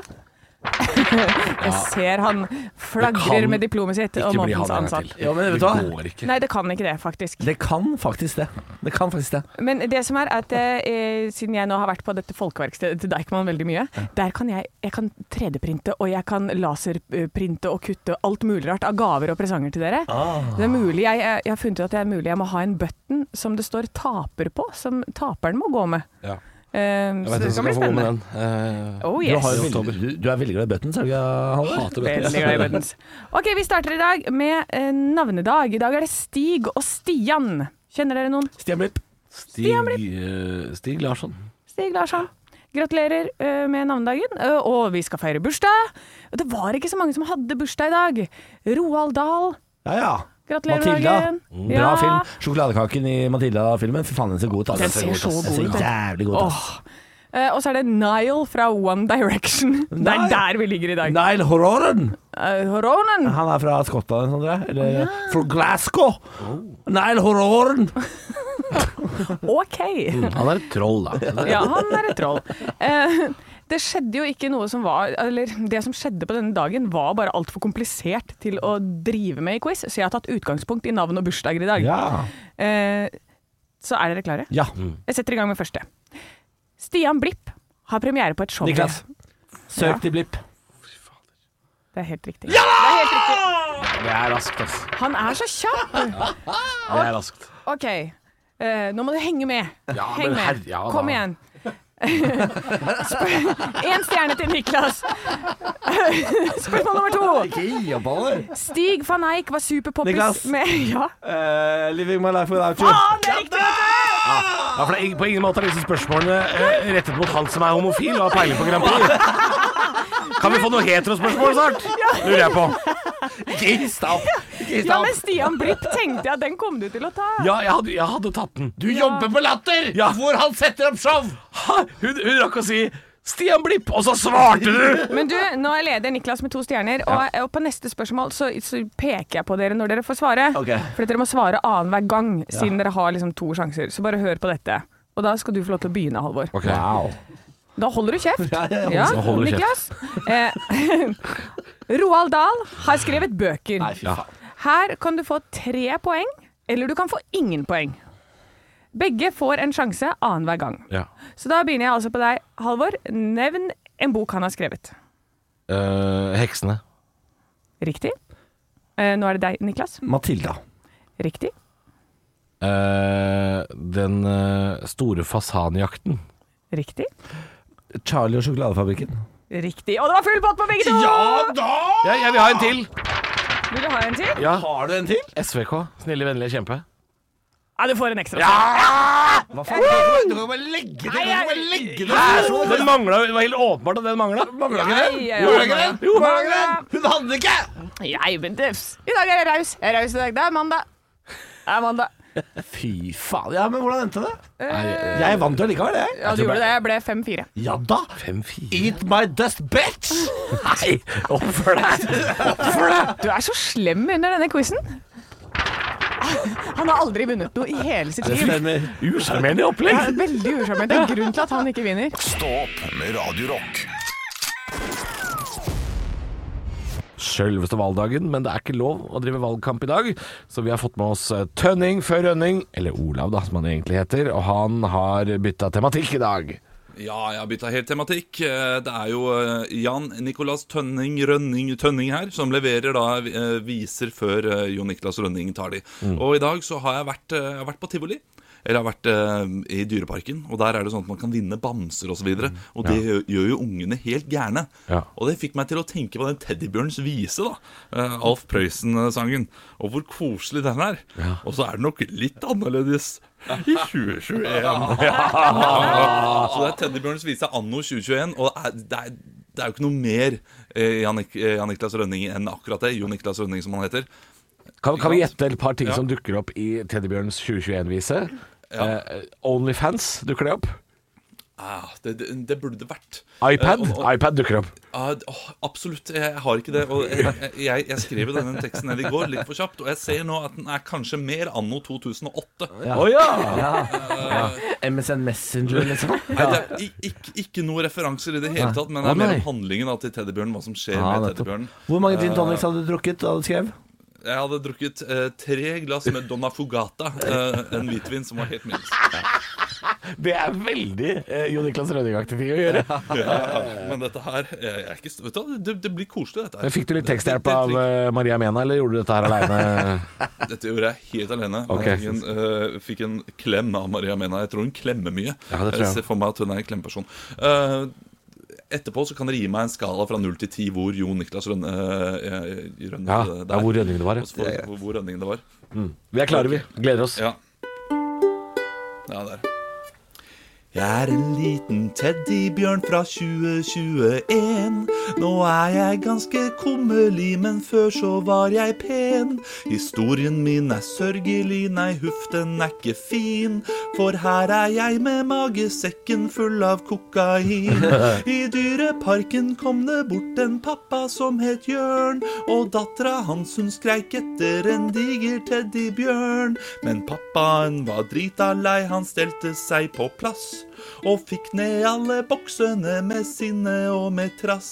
Speaker 4: [laughs] Jeg ser han
Speaker 5: Det
Speaker 4: flagrer
Speaker 5: kan
Speaker 4: med diplomet sitt og
Speaker 5: Ikke bli han
Speaker 4: månedens
Speaker 5: en gang
Speaker 4: ansatt.
Speaker 5: til.
Speaker 3: Ja, men vet du
Speaker 5: det
Speaker 3: hva?
Speaker 5: går ikke.
Speaker 4: Nei, det kan ikke det, faktisk.
Speaker 3: Det kan faktisk det. Det kan faktisk det.
Speaker 4: Men det som er at eh, siden jeg nå har vært på dette folkeverkstedet til Deichman veldig mye, der kan jeg, jeg kan 3D-printe og jeg kan laserprinte og kutte alt mulig rart av gaver og presanger til dere.
Speaker 5: Ah.
Speaker 4: Det er mulig, jeg, jeg har funnet ut at det er mulig jeg må ha en button som det står 'taper' på, som taperen må gå med.
Speaker 5: Ja.
Speaker 4: Eh,
Speaker 5: Jeg
Speaker 4: så
Speaker 5: vet
Speaker 4: det
Speaker 5: hvem
Speaker 4: kan
Speaker 5: som
Speaker 4: bli
Speaker 5: skal få gå med
Speaker 4: spennende.
Speaker 5: den. Eh,
Speaker 4: Oh,
Speaker 3: Du,
Speaker 4: yes.
Speaker 3: har jo veldig, du, du er veldig glad i buttons, er du ikke, Halvor?
Speaker 5: hater
Speaker 4: Veldig
Speaker 5: bøtter.
Speaker 4: glad i buttons. Ok, vi starter i dag med eh, navnedag. I dag er det Stig og Stian. Kjenner dere noen?
Speaker 3: [laughs] Stian Blipp.
Speaker 5: Stig, eh, Stig Larsson.
Speaker 4: Stig Larsson. Gratulerer ø, med navnedagen, ø, og vi skal feire bursdag. Og Det var ikke så mange som hadde bursdag i dag. Roald Dahl,
Speaker 3: Ja, ja.
Speaker 4: gratulerer med
Speaker 3: Matilda.
Speaker 4: dagen.
Speaker 3: Mm, Bra film. Sjokoladekaken i Matilda-filmen. Fy faen, den ser god ut. ass.
Speaker 4: Den ser så
Speaker 3: Den
Speaker 4: god
Speaker 3: ser
Speaker 4: ut. den.
Speaker 3: Jævlig god ut. altså. ass.
Speaker 4: Åh. Eh, Og så er det Nile fra One Direction. [laughs] Det
Speaker 3: Nei.
Speaker 4: er der vi ligger i dag.
Speaker 3: Nile Hororen.
Speaker 4: Eh,
Speaker 3: [laughs]
Speaker 4: Ronan.
Speaker 3: Han er fra Skottland, sånn, tror jeg. Eller fra Glasgow. Nile Hororen.
Speaker 4: OK.
Speaker 5: Han er et troll, da.
Speaker 4: Ja, han er et troll. Eh, Det skjedde jo ikke noe som var Eller det som skjedde på denne dagen, var bare altfor komplisert til å drive med i quiz, så jeg har tatt utgangspunkt i navn og bursdager i dag.
Speaker 3: Ja.
Speaker 4: Eh, så er dere klare?
Speaker 3: ja.
Speaker 4: Jeg setter i gang med første. Stian Blipp har premiere på et show.
Speaker 3: Niklas. Søk
Speaker 4: Ja.
Speaker 3: til Blipp.
Speaker 4: Det er helt riktig.
Speaker 5: Det er raskt, ass.
Speaker 4: Han er så kjapp!
Speaker 5: Det er raskt.
Speaker 4: OK, eh, nå må du henge med.
Speaker 5: Ja,
Speaker 4: Heng
Speaker 5: men
Speaker 4: med.
Speaker 5: herre- ja da.
Speaker 4: Kom igjen. Én stjerne til Niklas. Spørsmål nummer to.
Speaker 3: Ikke gi opp, Halvor.
Speaker 4: Stig van Eijk var superpoppis
Speaker 3: Niklas.
Speaker 4: med Ja,
Speaker 3: living my Eh, life without you.
Speaker 4: faen, det er riktig!
Speaker 5: Ja, for det er, på ingen måte er disse spørsmålene eh, rettet mot han som er homofil og har peiling på Grand Prix.
Speaker 4: [laughs]
Speaker 5: Kan vi få noe heterospørsmål snart? Lurer jeg på.
Speaker 3: Ikke stopp! Ikke
Speaker 4: Ja, men Stian Blipp tenkte jeg at den kom du til å ta.
Speaker 5: Ja, jeg hadde, jeg hadde tatt den.
Speaker 3: Du jobber på Latter,
Speaker 5: Ja.
Speaker 3: hvor han setter opp show!
Speaker 5: Ha, hun, hun rakk å si 'Stian Blipp', og så svarte du!
Speaker 4: Men du, nå er leder Niklas med to stjerner, og, og på neste spørsmål så, så peker jeg på dere når dere får svare.
Speaker 3: Ok.
Speaker 4: For dere må svare annenhver gang, siden dere har liksom to sjanser. Så bare hør på dette. Og da skal du få lov til å begynne, Halvor.
Speaker 3: Wow.
Speaker 4: Da holder du kjeft.
Speaker 3: Ja, ja, ja.
Speaker 4: Ja,
Speaker 5: Da holder du
Speaker 4: Niklas. Eh, [laughs] Roald Dahl har skrevet bøker.
Speaker 3: Nei, fy faen.
Speaker 4: Her kan du få tre poeng, eller du kan få ingen poeng. Begge får en sjanse annenhver gang.
Speaker 5: Ja.
Speaker 4: Så da begynner jeg altså på deg, Halvor. Nevn en bok han har skrevet.
Speaker 5: Eh, heksene.
Speaker 4: Riktig. Eh, nå er det deg, Niklas.
Speaker 3: Matilda.
Speaker 4: Riktig.
Speaker 5: Eh, den eh, store fasanjakten.
Speaker 4: Riktig.
Speaker 3: Charlie og sjokoladefabrikken.
Speaker 4: Riktig. Og det var full pott på begge to!
Speaker 3: da!
Speaker 5: Ja, jeg vil ha en til!
Speaker 4: Vil du ha en til?
Speaker 5: Ja.
Speaker 3: Har du en til?
Speaker 5: SVK. Snille, vennlige kjempe.
Speaker 4: Ja, du får en ekstra.
Speaker 3: Hva faen? Du kan bare legge det! Du kan bare legge det!
Speaker 5: Den mangla Det var helt åpenbart at den mangla.
Speaker 3: Mangla ikke
Speaker 4: Nei,
Speaker 3: den?
Speaker 4: jeg
Speaker 3: Gjorde ikke
Speaker 4: mangla.
Speaker 3: den? Jo, mangla
Speaker 4: Mangla.
Speaker 3: den! Hun hadde ikke!
Speaker 4: Jeg, men det- I dag er jeg raus. Jeg er raus i dag. Det er mandag. Det er mandag.
Speaker 3: Fy faen. Ja, men hvordan endte det?
Speaker 5: Nei, eh,
Speaker 3: Jeg vant jo allikevel, jeg.
Speaker 4: Ja, du gjorde det. Jeg ble 5-4.
Speaker 3: Ja da. Eat my dust, bitch!
Speaker 5: Nei, oppfør deg! Oppfør deg!
Speaker 4: Du er så slem under denne quizen. Han har aldri vunnet noe i hele sitt liv.
Speaker 3: Stemmer.
Speaker 5: Usjarmerende opplegg.
Speaker 4: Det er veldig usjarmerende. Det er grunnen til at han ikke vinner.
Speaker 2: Stå opp med Radio Rock.
Speaker 5: Sjølveste valgdagen, men det er ikke lov å drive valgkamp i dag. Så vi har fått med oss eh, Tønning før Rønning, eller Olav da, som han egentlig heter. Og han har bytta tematikk i dag.
Speaker 7: Ja, jeg har bytta helt tematikk. Eh, Det er jo eh, Jan Nicolas Tønning Rønning Tønning her, som leverer da eh, viser før eh, Jon Niklas Rønning tar de. Og i dag så har jeg vært, eh, jeg har vært på tivoli. Eller jeg har vært eh, i Dyreparken, og der er det sånn at man kan vinne bamser osv. Og, så videre, og det gjør- gjør jo ungene helt gærne.
Speaker 5: Ja.
Speaker 7: Og det fikk meg til å tenke på den Teddybjørns vise, da. eh, Alf Prøysen-sangen. Og hvor koselig den er. Og så er det nok litt annerledes i 2021. Så det er Teddybjørns vise anno 2021, og det er, det er, det er jo ikke noe mer eh, Jan, Nik- eh, Jan Niklas Rønning enn akkurat det. Jon Niklas Rønning, som han heter.
Speaker 5: Kan, kan vi gjette et par ting
Speaker 7: Ja.
Speaker 5: som dukker opp i Teddybjørns 2021-vise? Eh, Onlyfans dukker det opp.
Speaker 7: Ah, det, det, det burde det vært.
Speaker 5: iPad
Speaker 7: Eh, og- og-
Speaker 5: iPad dukker opp.
Speaker 7: Ah, d- åh, absolutt. Jeg har ikke det. Og jeg, jeg, jeg skrev jo denne teksten ned i går litt for kjapt, og jeg ser nå at den er kanskje mer anno 2008.
Speaker 5: Å ja!
Speaker 3: MSN Messenger, liksom.
Speaker 7: Nei, det er ik- ikke, ikke noe referanser i det hele tatt, men det
Speaker 5: Å,
Speaker 7: er mer
Speaker 5: nei.
Speaker 7: om handlingen da, til teddybjørnen. Hva som skjer
Speaker 3: Ja,
Speaker 7: med
Speaker 3: nettopp.
Speaker 7: teddybjørnen.
Speaker 3: Hvor mange gin tonics hadde du drukket da du skrev?
Speaker 7: Jeg hadde drukket eh, tre glass med Donna Fugata, eh, en hvitvin som var helt minst.
Speaker 5: Det er veldig eh, Jon Niklas Rønning-aktig ting å gjøre.
Speaker 7: [laughs] Men dette her eh, jeg er ikke, vet du, hva, det, det blir koselig, dette her.
Speaker 5: Fikk du litt
Speaker 7: Det- det-
Speaker 5: teksthjelp
Speaker 7: det-
Speaker 5: av eh, Maria Mena, eller gjorde du dette her aleine?
Speaker 7: Dette gjorde jeg helt alene.
Speaker 5: Ok.
Speaker 7: Jeg fikk en, eh, fikk en klem av Maria Mena. Jeg tror hun klemmer mye.
Speaker 5: Ja, det tror jeg.
Speaker 7: ser for meg at hun er en klemmeperson. Eh, etterpå så kan dere gi meg en skala fra 0 til 10 hvor Jo Niklas Rønne, eh, eh, Rønne
Speaker 5: Ja,
Speaker 7: det
Speaker 5: ja, hvor rønning det var.
Speaker 7: Og så får vi hvor, hvor rønningen det var.
Speaker 5: Vi er klare, vi. Gleder oss.
Speaker 7: Ja. Ja, der. Jeg er en liten teddybjørn fra 2021. Nå er jeg ganske kummerlig, men før så var jeg pen. Historien min er sørgelig, nei huff, den er ikke fin. For her er jeg med magesekken full av kokain. [laughs] I dyreparken kom det bort en pappa som het Jørn. Og dattera hans hun skreik etter en diger teddybjørn. Men pappaen var drita lei, han stelte seg på plass. Og fikk ned alle boksene med sinne og med trass.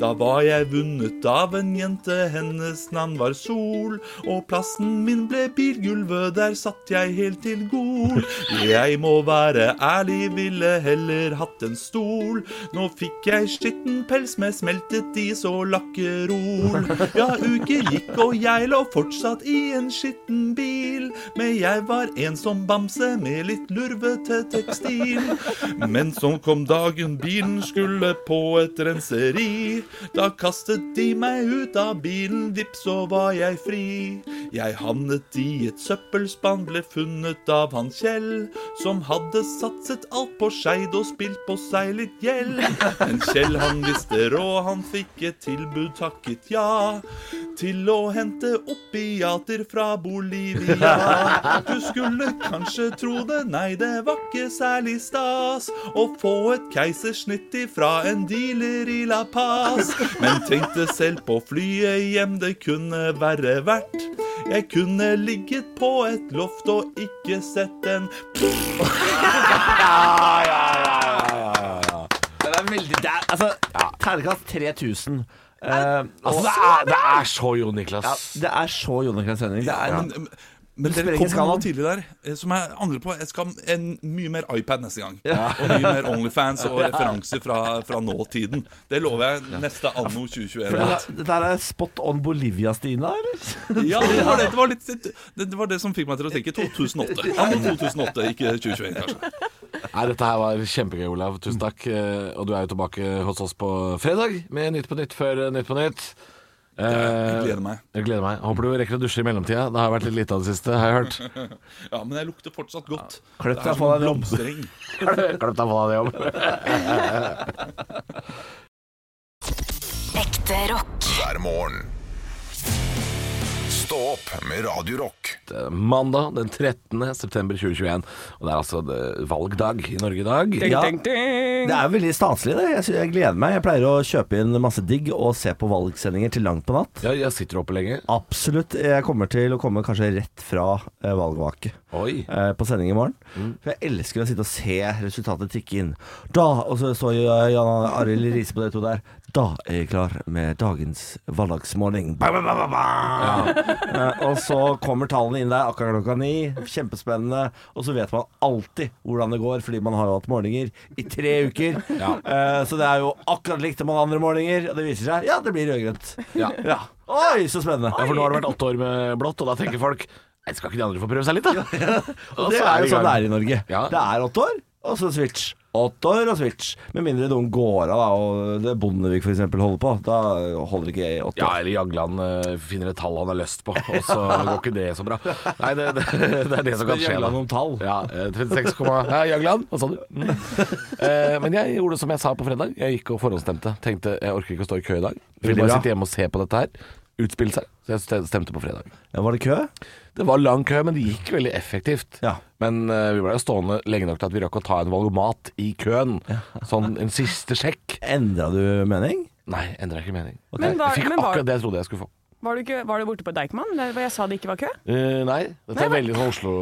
Speaker 7: Da var jeg vunnet av en jente, hennes navn var Sol. Og plassen min ble bilgulvet, der satt jeg helt til gol. Jeg må være ærlig, ville heller hatt en stol. Nå fikk jeg skitten pels med smeltet is og lakkerol. Ja, uker gikk, og jeg lå fortsatt i en skitten bil. Men jeg var en som bamse med litt lurvete tekstil. Men så kom dagen bilen skulle på et renseri. fri. Da kastet de meg ut av bilen, vips, så var jeg fri. Jeg havnet i et søppelspann, ble funnet av han Kjell, som hadde satset alt på Skeid og spilt på seg litt gjeld. [laughs] Men Kjell han visste råd, han fikk et tilbud takket ja. Til å hente opiater fra Bolivia. Du skulle kanskje tro det, nei, det var ikke særlig stas å få et keisersnitt ifra en dealer i La Paz. Men tenkte selv på flyet hjem, det kunne være verdt. Jeg kunne ligget på et loft og ikke sett en
Speaker 3: Den er veldig der, altså, Ternekast 3000. Eh,
Speaker 5: Altså,
Speaker 3: og,
Speaker 5: det er, det er så Jo Niklas.
Speaker 3: ja, det er så Jon Niklas Henning. Det er en,
Speaker 7: Men, men
Speaker 3: spiller
Speaker 7: dere
Speaker 3: ikke
Speaker 7: kom med noe
Speaker 3: skalaen.
Speaker 7: tidlig der eh, som jeg angrer på. Jeg skal ha en mye mer iPad neste gang. Og mye mer Onlyfans og referanser fra, fra nåtiden. Det lover jeg neste anno 2021.
Speaker 3: det der er spot on Bolivia-Stina, eller?
Speaker 7: Ja, det var det, det, var litt, det, det var det som fikk meg til å tenke 2008. Anno 2008, ikke 2021, kanskje.
Speaker 5: Nei, dette her var kjempegøy, Olav. Tusen takk. Eh, Og du er jo tilbake hos oss på fredag med Nytt på nytt før eh, Nytt på nytt. Eh,
Speaker 7: Jeg gleder meg.
Speaker 5: Jeg gleder meg. Håper du rekker å dusje i mellomtida. Det har vært litt lite av det siste, har jeg hørt. [laughs]
Speaker 7: Ja, men jeg lukter fortsatt godt.
Speaker 3: Kløpp
Speaker 7: Det
Speaker 3: deg
Speaker 7: er
Speaker 3: på
Speaker 7: som en
Speaker 3: deg en jobb.
Speaker 7: blomstereng.
Speaker 5: Klipp deg på deg jobb.
Speaker 1: Ekte rock.
Speaker 2: hver morgen. Stå opp med Radio Rock.
Speaker 5: Eh, Mandag den 13. september 2021. Og det er altså eh, valgdag i Norge i dag.
Speaker 3: Ja.
Speaker 4: Ding, ding.
Speaker 3: Det er jo veldig staselig, det. Jeg, sy- jeg gleder meg. Jeg pleier å kjøpe inn masse digg og se på valgsendinger til langt på natt.
Speaker 5: Ja, jeg sitter oppe lenge.
Speaker 3: Absolutt. Jeg kommer til å komme kanskje rett fra eh, valgvake
Speaker 5: Oi.
Speaker 3: eh, på sending i morgen.
Speaker 5: Mm.
Speaker 3: For jeg elsker å sitte og se resultatet tikke inn. Da, Og så står jo, eh, Jan Arild Riise på dere to der. Da er jeg klar med dagens valgdagsmåling. Ba, ba, ba, ba, ba. Eh, og så kommer tallene inn der akkurat klokka ni. Kjempespennende. Og så vet man alltid hvordan det går, fordi man har jo hatt målinger i tre uker. Eh, så det er jo akkurat likt som alle andre målinger, og det viser seg ja, det blir rød-grønt.
Speaker 5: Ja.
Speaker 3: Ja. Oi, så spennende.
Speaker 5: Ja, for nå har det vært åtte år med blått, og da tenker folk Nei, skal ikke de andre få prøve seg litt, da? [laughs] Og
Speaker 3: Det
Speaker 5: så
Speaker 3: er
Speaker 5: vi
Speaker 3: jo sånn det
Speaker 5: gang.
Speaker 3: er i Norge.
Speaker 5: Ja.
Speaker 3: Det er åtte år, og så switch. Åtte år og switch. Med mindre noen går av, da, og det Bondevik f.eks. holder på. Da holder ikke jeg i åtte
Speaker 5: Ja,
Speaker 3: år.
Speaker 5: eller Jagland eh, finner et tall han har lyst
Speaker 3: [laughs]
Speaker 5: på, og så går ikke det så bra. Nei, det, [laughs] det, det er det som kan skje. da.
Speaker 3: Jagland om tall.
Speaker 5: Ja, eh, 36, komma- Nei, Jagland, hva sa du?
Speaker 3: [laughs]
Speaker 5: Mm. Eh, Men jeg gjorde som jeg sa på fredag. Jeg gikk og forhåndsstemte. Tenkte jeg orker ikke å stå i kø i dag. Jeg
Speaker 3: Veldig
Speaker 5: vil bare
Speaker 3: bra.
Speaker 5: sitte hjemme og se på dette her. Utspille seg. Så jeg ste- stemte på fredag.
Speaker 3: Ja, var det kø?
Speaker 5: Det var lang kø, men det gikk veldig effektivt.
Speaker 3: Ja.
Speaker 5: Men eh, vi ble jo stående lenge nok til at vi rakk å ta en valgomat i køen. Sånn en siste sjekk.
Speaker 3: Endra du mening?
Speaker 5: Nei, endra ikke mening.
Speaker 4: Men var-
Speaker 5: jeg fikk
Speaker 4: men var-
Speaker 5: akkurat det jeg trodde jeg skulle få.
Speaker 4: Var du, ikke, var du borte på Deichman? Der hvor jeg sa det ikke var kø?
Speaker 5: Eh, nei, dette er veldig sånn Oslo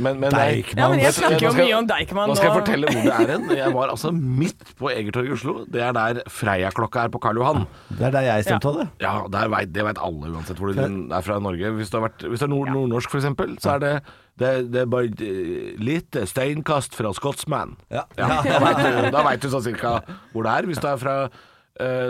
Speaker 5: men, men
Speaker 3: Deichman.
Speaker 4: Ja, men jeg snakker jo
Speaker 5: Nå skal-
Speaker 4: mye om Deichman
Speaker 5: Nå skal jeg
Speaker 4: og-
Speaker 5: fortelle hvor det er hen. Jeg var altså midt på Egertorget i Oslo. Det er der Freia-klokka er på Karl Johan.
Speaker 3: Det er der jeg stemte av det.
Speaker 5: Ja, der vet, Det vet alle uansett hvor du er fra i Norge. Hvis du, har vært, hvis du er nord nordnorsk, f.eks., så er det, det, det er bare eh, lite steinkast fra Scotsman.
Speaker 3: Ja.
Speaker 5: da vet du, da vet du sånn cirka hvor det er. Hvis du er fra eh,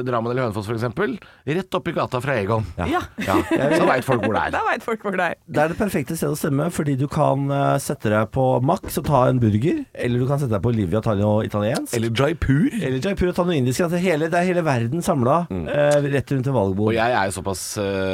Speaker 5: Drammen eller Hønefoss, f.eks., rett oppi gata fra Egon.
Speaker 4: Ja,
Speaker 5: Ja, så veit folk hvor det er.
Speaker 4: da veit folk hvor det er.
Speaker 3: Det er det perfekte stedet å stemme, fordi du kan eh, sette deg på Max og ta en burger. Eller du kan sette deg på Olivia og ta noe italiensk.
Speaker 5: Eller Jaipur.
Speaker 3: Eller Jaipur og ta noe indisk. Altså hele, det er hele verden samla
Speaker 5: Mm.
Speaker 3: eh, rett rundt en
Speaker 5: Og
Speaker 3: valgbord.
Speaker 5: jeg er jo såpass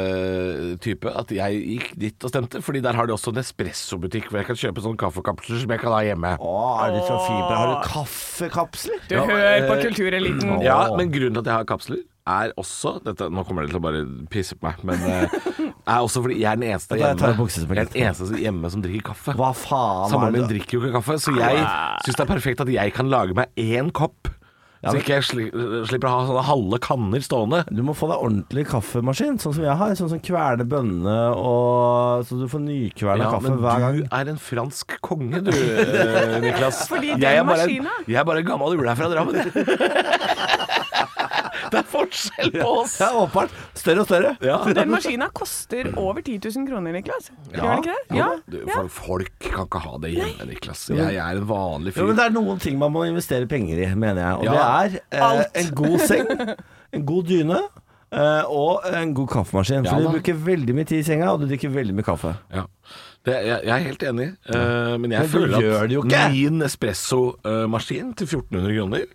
Speaker 5: eh, type at jeg gikk dit og stemte, fordi der har de også en espressobutikk hvor jeg kan kjøpe sånne kaffekapsler som jeg kan ha hjemme.
Speaker 3: Å, er det så fint? Har du kaffekapsler?
Speaker 4: Du hører
Speaker 5: eh,
Speaker 4: på kultureliten.
Speaker 5: Ja, men grunnen til at jeg har kapsler er også dette, Nå kommer dere til å bare pisse på meg, men eh, er også fordi jeg er den eneste
Speaker 3: Da tar jeg
Speaker 5: hjemme,
Speaker 3: buksa som er
Speaker 5: jeg er den eneste hjemme som drikker kaffe.
Speaker 3: Hva faen
Speaker 5: Samboeren
Speaker 3: er
Speaker 5: min
Speaker 3: det?
Speaker 5: drikker jo ikke kaffe, så jeg syns det er perfekt at jeg kan lage meg én kopp. Så
Speaker 3: men-
Speaker 5: ikke jeg sli, slipper å ha sånne halve kanner stående.
Speaker 3: Du må få deg ordentlig kaffemaskin, sånn som jeg har. Sånn som kverner bønnene, og så du får nykverna kaffe
Speaker 5: men
Speaker 3: hver
Speaker 5: [laughs]
Speaker 3: gang.
Speaker 5: du er en fransk konge, du, eh, Niklas.
Speaker 4: [laughs] Fordi den
Speaker 5: jeg, er bare en,
Speaker 4: maskina-
Speaker 5: jeg er bare en gammel ule her fra Drammen.
Speaker 4: [laughs]
Speaker 5: jeg. det er forskjell på oss!
Speaker 3: Ja, åpenbart. Større og større.
Speaker 4: Den maskina koster over 10 000 kroner, Niklas. Gjør den ikke det? Ja.
Speaker 5: Du, for, folk kan ikke ha det hjemme, Niklas. Jeg, jeg er en vanlig
Speaker 3: Jo,
Speaker 5: fyr.
Speaker 3: men det er noen ting man må investere penger i, mener jeg. Og
Speaker 5: Ja.
Speaker 3: det er eh, en god
Speaker 5: [laughs]
Speaker 3: seng, en god dyne. eh, og en god kaffemaskin.
Speaker 5: Ja
Speaker 3: for
Speaker 5: da.
Speaker 3: du bruker veldig mye tid i senga, og du drikker veldig mye kaffe.
Speaker 5: Ja. Det, jeg, jeg er helt enig, eh, men jeg
Speaker 3: Men du
Speaker 5: føler
Speaker 3: gjør
Speaker 5: at
Speaker 3: det jo ikke.
Speaker 5: min espressomaskin til 1400 kroner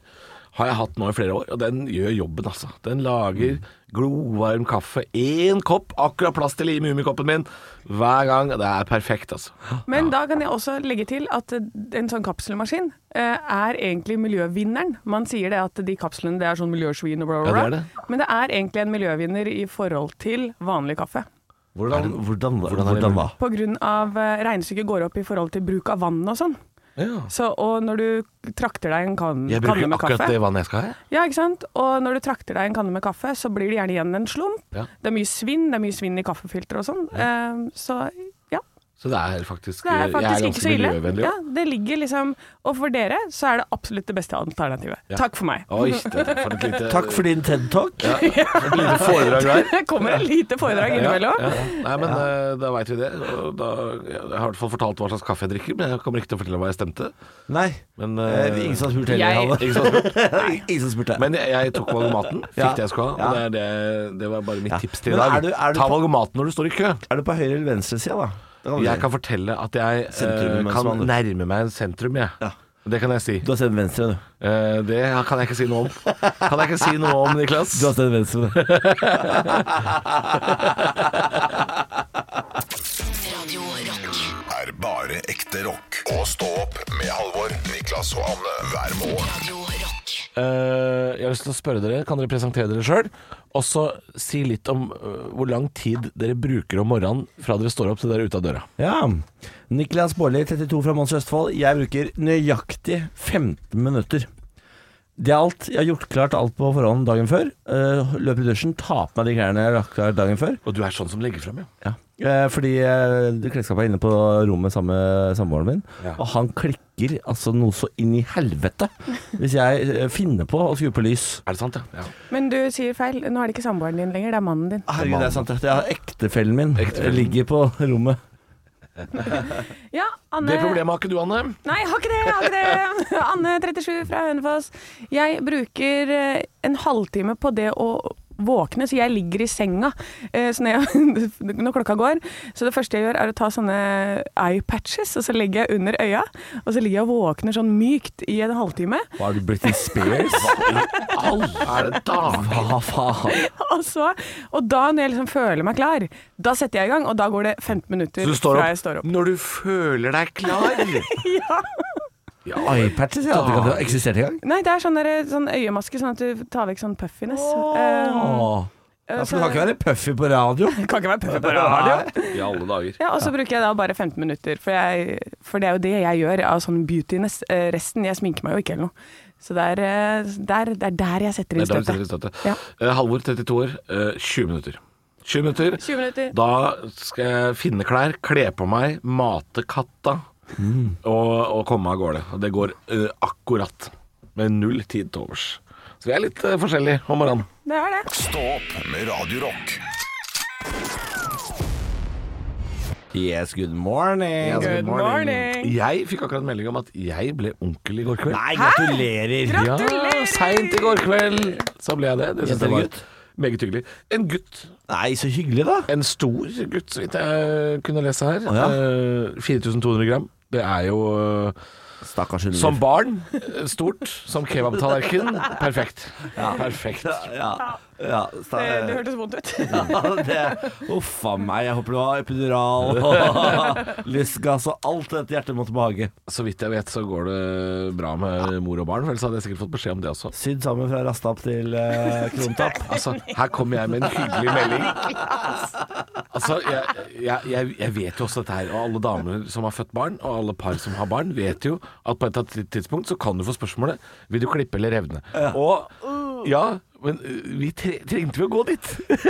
Speaker 5: har jeg hatt nå i flere år, og den gjør jobben, altså. Den lager glovarm kaffe. Én kopp, akkurat plass til i mummikoppen min, hver gang. Det er perfekt, altså.
Speaker 4: Men da kan jeg også legge til at en sånn kapselmaskin eh, er egentlig miljøvinneren. Man sier det at de kapslene det er sånn miljøsvin og bla, bla, bla.
Speaker 5: Ja, det er
Speaker 4: Men det er egentlig en miljøvinner i forhold til vanlig kaffe.
Speaker 3: Hvordan, hvordan, hvordan,
Speaker 5: er det
Speaker 3: da?
Speaker 4: På grunn av eh, regnestykket går opp i forhold til bruk av vann og sånn. Så, og når du trakter deg en kan,
Speaker 5: Jeg
Speaker 4: kanne
Speaker 5: bruker
Speaker 4: med
Speaker 5: akkurat
Speaker 4: kaffe
Speaker 5: det vannet jeg skal ha. jeg.
Speaker 4: Ja, ikke sant? Og når du trakter deg en kanne med kaffe, så blir det gjerne igjen en slump.
Speaker 5: Ja.
Speaker 4: Det er mye svinn, det er mye svinn i kaffefilter og sånn. Eh, så ja.
Speaker 5: Så det er faktisk,
Speaker 4: Det
Speaker 5: eh,
Speaker 4: er
Speaker 5: jeg
Speaker 4: faktisk
Speaker 5: er
Speaker 4: ikke
Speaker 5: ganske
Speaker 4: så ille.
Speaker 5: miljøvennlig.
Speaker 4: Ja,
Speaker 5: også.
Speaker 4: det ligger liksom Og for dere så er det absolutt det beste alternativet. Takk for meg.
Speaker 5: Oi, det- for et lite,
Speaker 3: Takk for din TED Talk.
Speaker 5: for et lite foredrag der.
Speaker 4: [laughs] Det kommer et lite foredrag innimellom.
Speaker 5: Ja, ja. Nei, men eh, da veit vi det. Og da, jeg har i hvert fall fortalt hva slags kaffe jeg drikker, men jeg kommer ikke til å fortelle hva jeg stemte.
Speaker 3: Nei,
Speaker 5: Men,
Speaker 3: eh,
Speaker 5: eh,
Speaker 3: ingen som har spurt
Speaker 4: Jeg-
Speaker 3: heller. Halvor.
Speaker 5: ikke sant?
Speaker 3: [laughs] Ingen som spurte.
Speaker 5: men jeg, jeg tok valgomaten, fikk
Speaker 3: [laughs] Ja.
Speaker 5: det jeg skulle ha. Og
Speaker 3: Ja.
Speaker 5: det, er det, det var bare mitt
Speaker 3: Ja.
Speaker 5: tips til i
Speaker 3: Men
Speaker 5: dag.
Speaker 3: er du- er du
Speaker 5: Ta
Speaker 3: på-
Speaker 5: valgomaten når du står i kø.
Speaker 3: er du på høyre- eller venstresida, da? Det kan du si.
Speaker 5: Jeg kan fortelle at jeg eh, kan
Speaker 3: Sentrumsmann, du.
Speaker 5: nærme meg en sentrum, jeg.
Speaker 3: Ja.
Speaker 5: Det kan jeg si.
Speaker 3: Du har stemt venstre, du.
Speaker 5: Eh, det kan jeg ikke si noe om. Kan jeg ikke si noe om, Niklas?
Speaker 3: Du har stemt venstre. du.
Speaker 5: [laughs]
Speaker 1: Radio Rock.
Speaker 2: er bare ekte rock. Og stå opp med Halvor, Niklas og Anne hver morgen.
Speaker 1: Radio Rock.
Speaker 5: Eh, jeg har lyst til å spørre dere, kan dere presentere dere sjøl? Og så si litt om eh, hvor lang tid dere bruker om morgenen fra dere står opp til dere er ute av døra.
Speaker 3: [laughs] Ja. Niklas Baarli, 32 fra Mons Østfold. Jeg bruker nøyaktig 15 minutter. Det er alt. Jeg har gjort klart alt på forhånd dagen før. Eh, Løper i dusjen, tar på meg de klærne jeg har lagt klart dagen før.
Speaker 5: Og du er sånn som legger frem, ja.
Speaker 3: Ja. Eh, Fordi eh, klesskapet er inne på rommet sammen med samboeren min,
Speaker 5: Ja.
Speaker 3: og han klikker altså noe så inn i helvete hvis jeg eh, finner på å skru på lys.
Speaker 5: Er det sant, ja? ja.
Speaker 4: Men du sier feil. Nå er det ikke samboeren din lenger, det er mannen din.
Speaker 3: Herregud, det er sant. Det er ektefellen min.
Speaker 5: Ektefellen.
Speaker 3: Ligger på rommet.
Speaker 4: Ja, Anne
Speaker 5: Det problemet har ikke du, Anne.
Speaker 4: Nei, jeg har ikke det! jeg har ikke det [laughs] Anne, 37, fra Hønefoss. Jeg bruker eh, en halvtime på det å våkne, så jeg ligger i senga eh, så når, jeg, [laughs] når klokka går. Så det første jeg gjør, er å ta sånne eyepatches, og så legger jeg under øya. Og så ligger jeg og våkner sånn mykt i en halvtime. [laughs]
Speaker 3: Hva er du, Britney Spears? [laughs]
Speaker 5: Er det da?
Speaker 3: Hva faen?
Speaker 4: Og, så, og da, når jeg liksom føler meg klar, da setter jeg i gang, og da går det 15 minutter
Speaker 5: Du står
Speaker 4: fra jeg
Speaker 5: opp,
Speaker 4: står opp.
Speaker 5: når du føler deg klar.
Speaker 4: Ja.
Speaker 3: iPatches? Ja, det kan eksistert engang.
Speaker 4: Nei, det er sånn, der, sånn øyemaske, sånn at du tar vekk sånn puffiness. Um,
Speaker 3: Ja, for Altså, du kan ikke være puffy på radio.
Speaker 4: [laughs] kan ikke være puffer på radio.
Speaker 5: I alle dager.
Speaker 4: Ja, og så bruker jeg da bare 15 minutter, for, jeg, for det er jo det jeg gjør av sånn beautiness. Eh, Resten, jeg sminker meg jo ikke eller noe. Så det er eh, der, det er der jeg setter
Speaker 5: Det
Speaker 4: inn
Speaker 5: er da du
Speaker 4: støtet.
Speaker 5: setter inn støtet.
Speaker 4: Ja.
Speaker 5: Eh, Halvor, 32 år, eh, 20 minutter. 20 minutter.
Speaker 4: 20 minutter.
Speaker 5: Da skal jeg finne klær, kle på meg, mate katta
Speaker 3: Mm.
Speaker 5: og, og komme meg av gårde. Og det går eh, akkurat. Med null tid til overs. Så vi er litt eh, forskjellige om morgenen.
Speaker 4: Det er det.
Speaker 2: Stå opp med Radio Rock.
Speaker 3: [laughs] Yes, good morning.
Speaker 4: Good morning.
Speaker 5: Jeg fikk akkurat melding om at jeg ble onkel i går kveld.
Speaker 3: Nei, gratulerer.
Speaker 5: Ja, seint i går kveld så ble jeg det. Det synes
Speaker 3: Jente
Speaker 5: jeg
Speaker 3: eller
Speaker 5: var
Speaker 3: gutt?
Speaker 5: meget hyggelig. En gutt.
Speaker 3: Nei, så hyggelig, da.
Speaker 5: En stor gutt, så vidt jeg kunne lese her.
Speaker 3: Å, ja.
Speaker 5: Eh, 4200 gram. Det er jo eh,
Speaker 3: Stakkars hun.
Speaker 5: Som barn, eh, stort. Som kebabtallerken, perfekt. Perfekt.
Speaker 3: Ja. ja sta
Speaker 4: Det,
Speaker 3: [laughs]
Speaker 4: det hørtes vondt ut. [laughs]
Speaker 3: det, uff a meg. Jeg håper du har epidural og lystgass og alt dette hjertet mot mage.
Speaker 5: Så vidt jeg vet, så går det bra med mor og barn, for ellers hadde jeg sikkert fått beskjed om det også.
Speaker 3: Sydd sammen fra rastapp til eh,
Speaker 4: [laughs]
Speaker 3: krontapp.
Speaker 5: Altså, her kommer jeg med en hyggelig melding. Altså, jeg, jeg, jeg, jeg vet jo også dette her, og alle damer som har født barn, og alle par som har barn, vet jo at på et eller annet tidspunkt så kan du få spørsmålet Vil du klippe eller revne? Og ja, men øh, vi tre trengte vi å gå dit? [laughs]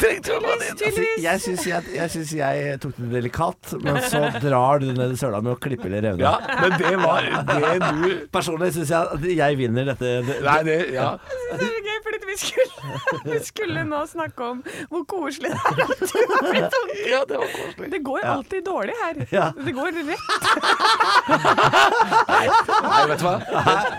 Speaker 5: trengte vi å gå dit?
Speaker 3: Altså, jeg syns jeg, jeg, synes jeg tok det delikat, men så drar du ned i søla med å klippe eller revne.
Speaker 5: Ja, men det var det du
Speaker 3: Personlig syns jeg at jeg vinner dette.
Speaker 5: Nei, det, ja.
Speaker 4: Det er så gøy, fordi vi skulle, [laughs] vi skulle nå snakke om hvor koselig det er at du har blitt onkel.
Speaker 5: ja, det var koselig.
Speaker 4: Det går alltid dårlig her.
Speaker 3: Ja.
Speaker 4: Det går rett.
Speaker 5: Nei, vet du hva?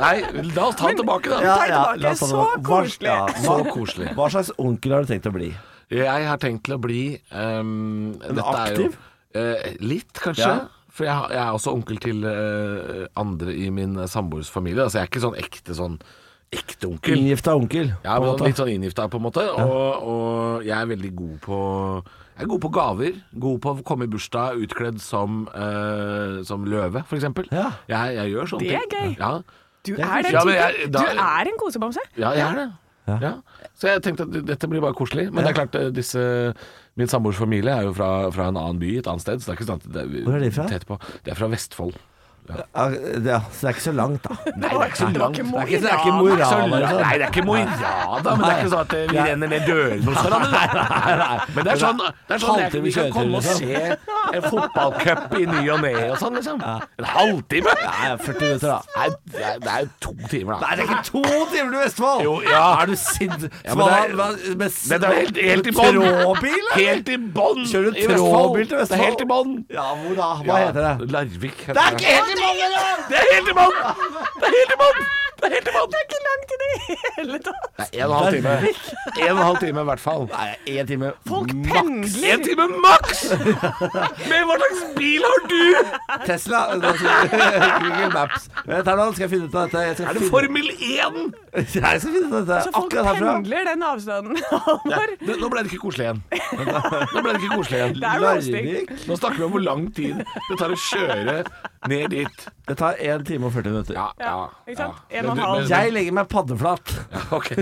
Speaker 5: Nei, la oss ta den tilbake, da.
Speaker 4: ta tilbake. Så koselig.
Speaker 5: Så koselig.
Speaker 3: Hva slags onkel har du tenkt å bli?
Speaker 5: Jeg har tenkt til å bli ehm, dette er jo-
Speaker 3: aktiv?
Speaker 5: eh, litt, kanskje.
Speaker 3: Ja.
Speaker 5: For jeg, har- eh, jeg er også onkel til eh, andre i min samboers familie. Altså, jeg er ikke sånn ekte sånn ekte onkel.
Speaker 3: Inngifta onkel.
Speaker 5: Ja,
Speaker 3: på en
Speaker 5: men
Speaker 3: måte.
Speaker 5: litt sånn inngifta, på en måte. Og, og jeg er veldig god på jeg er god på gaver. God på å komme i bursdag utkledd som, eh, som løve, f.eks.
Speaker 3: Ja.
Speaker 5: Jeg, jeg gjør sånne
Speaker 4: Det er
Speaker 5: ting.
Speaker 4: gøy.
Speaker 5: Ja.
Speaker 4: Du er den
Speaker 5: Ja, men
Speaker 4: typen.
Speaker 5: jeg- da-
Speaker 4: Du er en kosebamse.
Speaker 5: Ja, jeg er det. Ja. Så jeg tenkte at dette blir bare koselig. Men det er klart, eh, disse Min samboers familie er jo fra, fra en annen by, et annet sted. Så det er ikke sant det er,
Speaker 3: Hvor er de fra?
Speaker 5: Tett på. Det er fra Vestfold.
Speaker 3: Ja, det- ja, så det er ikke så langt, da.
Speaker 5: Nei, det er ikke så langt.
Speaker 3: Det er ikke, det er ikke Mo i
Speaker 5: Det
Speaker 3: Rana
Speaker 5: er ikke så
Speaker 3: eller
Speaker 5: langt.
Speaker 3: sånn.
Speaker 5: Nei, det er ikke Mo i Rana, men det er ikke sånn at eh, vi renner ned dørene hos hverandre. Nei, nei, Men det er sånn, det er sånn jeg,
Speaker 3: Halvtime
Speaker 5: vi kan
Speaker 3: kjøretur, liksom.
Speaker 5: komme og se en fotballcup i ny og ne og sånn, liksom. En halvtime?
Speaker 3: Nei, 40 minutter, da.
Speaker 5: Nei, det er- det er jo to timer, da.
Speaker 3: Nei, det er ikke to timer til Vestfold!
Speaker 5: Jo, ja.
Speaker 3: Er du sint?
Speaker 5: Ja,
Speaker 3: Ja,
Speaker 5: men det er-
Speaker 3: med,
Speaker 5: Det er helt, helt i bånn.
Speaker 3: Tråbil, eller?
Speaker 5: Helt i bånn.
Speaker 3: Kjører du
Speaker 5: i Vestfold.
Speaker 3: tråbil til Vestfold?
Speaker 5: Det er helt i bånn.
Speaker 3: Ja, hvor da? Hva
Speaker 5: Ja,
Speaker 3: heter det?
Speaker 5: Larvik. heter
Speaker 3: Det er ikke helt i bånn engang!
Speaker 5: Det er helt i bånn! Det er helt i bånn! Det er helt i bånn!
Speaker 4: Det er ikke langt i det hele tatt.
Speaker 5: Det er en og en halv time. En og en halv time i hvert fall.
Speaker 3: Nei, én time.
Speaker 4: Folk
Speaker 3: maks.
Speaker 4: pendler.
Speaker 5: En time maks! Men hva slags bil har du?
Speaker 3: Tesla. Nå skal- Google Maps. Vent her nå, skal jeg finne ut av dette. Jeg skal
Speaker 5: Er det
Speaker 3: finne- [laughs]
Speaker 5: Formel 1?
Speaker 3: Nei, jeg skal finne ut av dette.
Speaker 4: Så folk
Speaker 3: Akkurat herfra.
Speaker 4: pendler den avstanden. [laughs] Halvor.
Speaker 5: Nå nå ble det ikke koselig igjen. Nå ble det ikke koselig igjen.
Speaker 4: Det er roasting.
Speaker 3: Larvik.
Speaker 5: Nå snakker vi om hvor lang tid det tar å kjøre ned dit.
Speaker 3: Det tar 1 time og 40 minutter.
Speaker 5: Ja, ja.
Speaker 4: Ja, ikke sant?
Speaker 5: ja.
Speaker 4: En og en
Speaker 5: Men du-
Speaker 4: halv.
Speaker 5: men-
Speaker 3: Jeg legger meg paddeflat.
Speaker 5: Ok.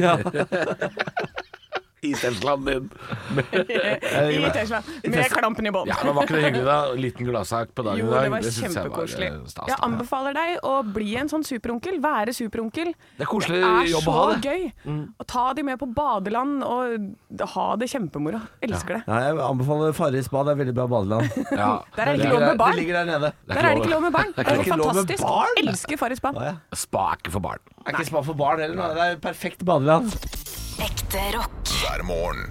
Speaker 5: I Teslaen din.
Speaker 4: I Tesla. Med klampen i bånn.
Speaker 5: Ja, men Var ikke det hyggelig, da? Liten gladsak på dagen
Speaker 4: Jo,
Speaker 5: i dag.
Speaker 4: det var
Speaker 5: synes jeg
Speaker 4: kjempekoselig.
Speaker 5: eh, stas,
Speaker 4: Jeg
Speaker 5: da.
Speaker 4: anbefaler deg å bli en sånn superonkel. Være superonkel.
Speaker 5: Det er koselig
Speaker 4: Det er
Speaker 5: jobb å
Speaker 4: så
Speaker 5: ha, det.
Speaker 4: gøy.
Speaker 3: Mm.
Speaker 4: Og ta de med på badeland og ha det kjempemoro. Elsker det.
Speaker 3: Ja, jeg anbefaler Farris bad. Det er veldig bra badeland.
Speaker 5: Ja.
Speaker 4: Der er det ikke lov med
Speaker 3: Det
Speaker 4: barn.
Speaker 3: ligger der nede.
Speaker 5: ikke
Speaker 4: Der er det ikke
Speaker 5: lov. [laughs]
Speaker 4: lov med barn. Det er
Speaker 3: ikke
Speaker 4: jo
Speaker 3: lov med
Speaker 4: fantastisk.
Speaker 3: barn.
Speaker 4: Elsker Farris bad.
Speaker 3: Å, ja.
Speaker 5: Spa er ikke for barn.
Speaker 3: Det er ikke spa for barn heller. da. Det er perfekt badeland.
Speaker 1: Ekte rock.
Speaker 2: hver morgen.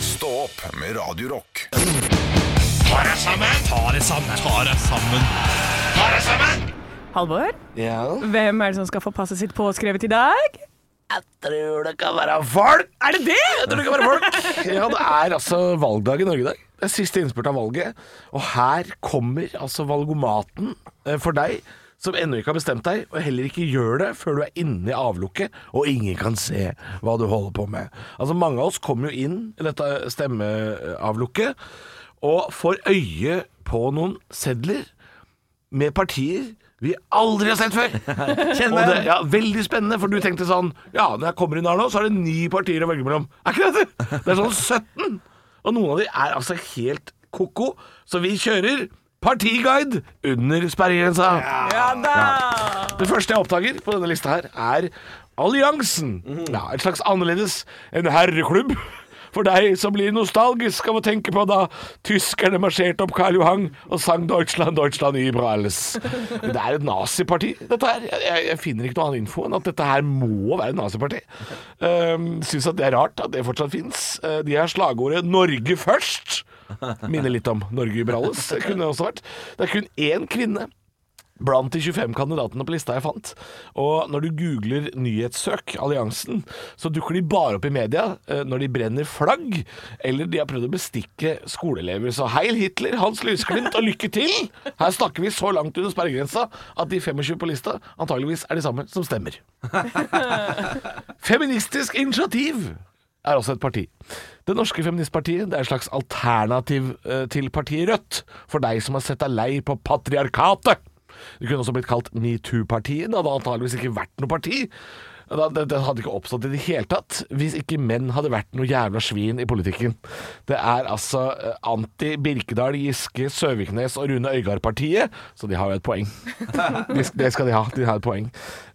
Speaker 2: Stå opp med Radio Rock.
Speaker 4: Halvor, hvem er det som skal få passet sitt påskrevet i dag?
Speaker 5: Jeg tror det kan være folk! Er det det?! Jeg tror det kan være folk. [laughs] Ja, det er altså valgdag i Norge i dag. Det er siste innspurt av valget. Og her kommer altså valgomaten eh, for deg som ennå ikke har bestemt deg, og heller ikke gjør det før du er inne i avlukket og ingen kan se hva du holder på med. Altså, mange av oss kommer jo inn i dette stemmeavlukket og får øye på noen sedler med partier vi aldri har sett før.
Speaker 3: [laughs] Kjenn
Speaker 5: Og
Speaker 3: meg
Speaker 5: det,
Speaker 3: igjen.
Speaker 5: ja, veldig spennende, for du tenkte sånn Ja, når jeg kommer inn her nå, så er det ni partier å velge mellom. Er ikke det det? Det er sånn 17! Og noen av de er altså helt ko-ko. Så vi kjører partiguide under sperregrensa.
Speaker 4: Ja da!
Speaker 5: Det første jeg oppdager på denne lista her, er Alliansen. Ja, et slags annerledes en herreklubb. For deg som blir nostalgisk av å tenke på da tyskerne marsjerte opp Karl Johan og sang 'Deutschland, Deutschland, über alles'. Men Det er et naziparti, dette her. Jeg, jeg, jeg finner ikke noe annen info enn at dette her må være et naziparti. Um, Syns at det er rart at det fortsatt fins. Eh, de har slagordet 'Norge først'. Minner litt om 'Norge über alles'. Det kunne det også vært. Det er kun én kvinne Blant de 25 kandidatene på lista jeg fant. Og når du googler 'nyhetssøk alliansen', så dukker de bare opp i media eh, når de brenner flagg, eller de har prøvd å bestikke skoleelever. Så heil Hitler, Hans Lysglimt og lykke til! Her snakker vi så langt under sperregrensa at de 25 på lista antageligvis er de samme som stemmer. Feministisk initiativ er også et parti. Det norske feministpartiet det er et slags alternativ eh, til partiet Rødt, for deg som har sett deg lei på patriarkatet. Det kunne også blitt kalt metoo-partiet. Det hadde antageligvis ikke vært noe parti. Da- Det, det hadde ikke oppstått i det hele tatt hvis ikke menn hadde vært noe jævla svin i politikken. Det er altså eh, anti-Birkedal, Giske, Søviknes og Rune Øygard-partiet, så de har jo et poeng. De, det skal de ha. De har et poeng.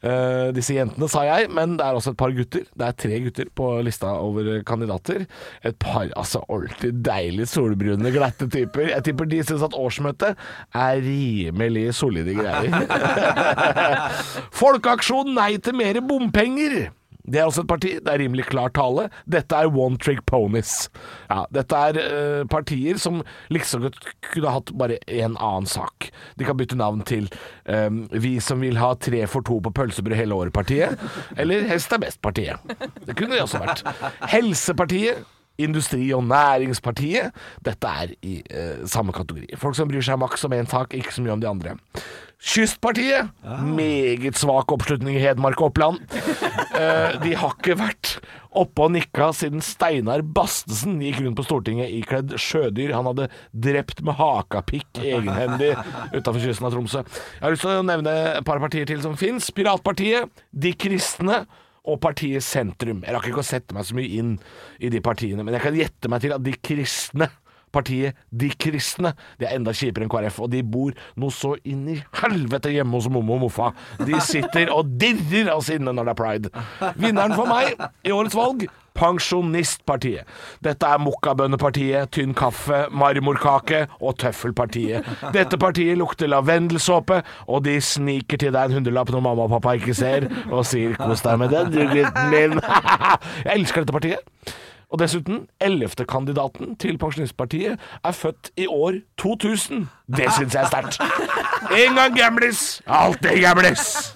Speaker 5: Eh, disse jentene, sa jeg, men det er også et par gutter. Det er tre gutter på lista over kandidater. Et par altså ordentlig deilig solbrune, glatte typer. Jeg tipper de syns at årsmøtet er rimelig solide greier. Folkeaksjon nei til mer bompenger. Det er også et parti. Det er rimelig klar tale. Dette er one trick ponies. Ja, dette er eh, partier som liksom godt kunne hatt bare en annen sak. De kan bytte navn til eh, Vi som vil ha tre for to på pølsebrød hele året-partiet. Eller Hest er best-partiet. Det kunne det også vært. Helsepartiet. Industri- og Næringspartiet. Dette er i eh, samme kategori. Folk som bryr seg maks om én sak, ikke så mye om de andre. Kystpartiet, meget svak oppslutning i Hedmark og Oppland. Eh, de har ikke vært oppe og nikka siden Steinar Bastesen gikk rundt på Stortinget ikledd sjødyr han hadde drept med hakapikk egenhendig utafor kysten av Tromsø. Jeg har lyst til å nevne et par partier til som fins. Piratpartiet, De kristne og partiet Sentrum. Jeg rakk ikke å sette meg så mye inn i de partiene, men jeg kan gjette meg til at De kristne Partiet De kristne De er enda kjipere enn KrF, og de bor noe så inn i helvete hjemme hos mommo og moffa. De sitter og dirrer av sinne når det er pride. Vinneren for meg i årets valg Pensjonistpartiet. Dette er Mokkabønnepartiet, Tynn kaffe, Marmorkake og Tøffelpartiet. Dette partiet lukter lavendelsåpe, og de sniker til deg en hundrelapp når mamma og pappa ikke ser, og sier 'kos deg med den, du gutten min'. [laughs] Jeg elsker dette partiet. Og dessuten, ellevtekandidaten til Pensjonistpartiet er født i år 2000. Det syns jeg er sterkt. En gang gamlis, alltid gamlis.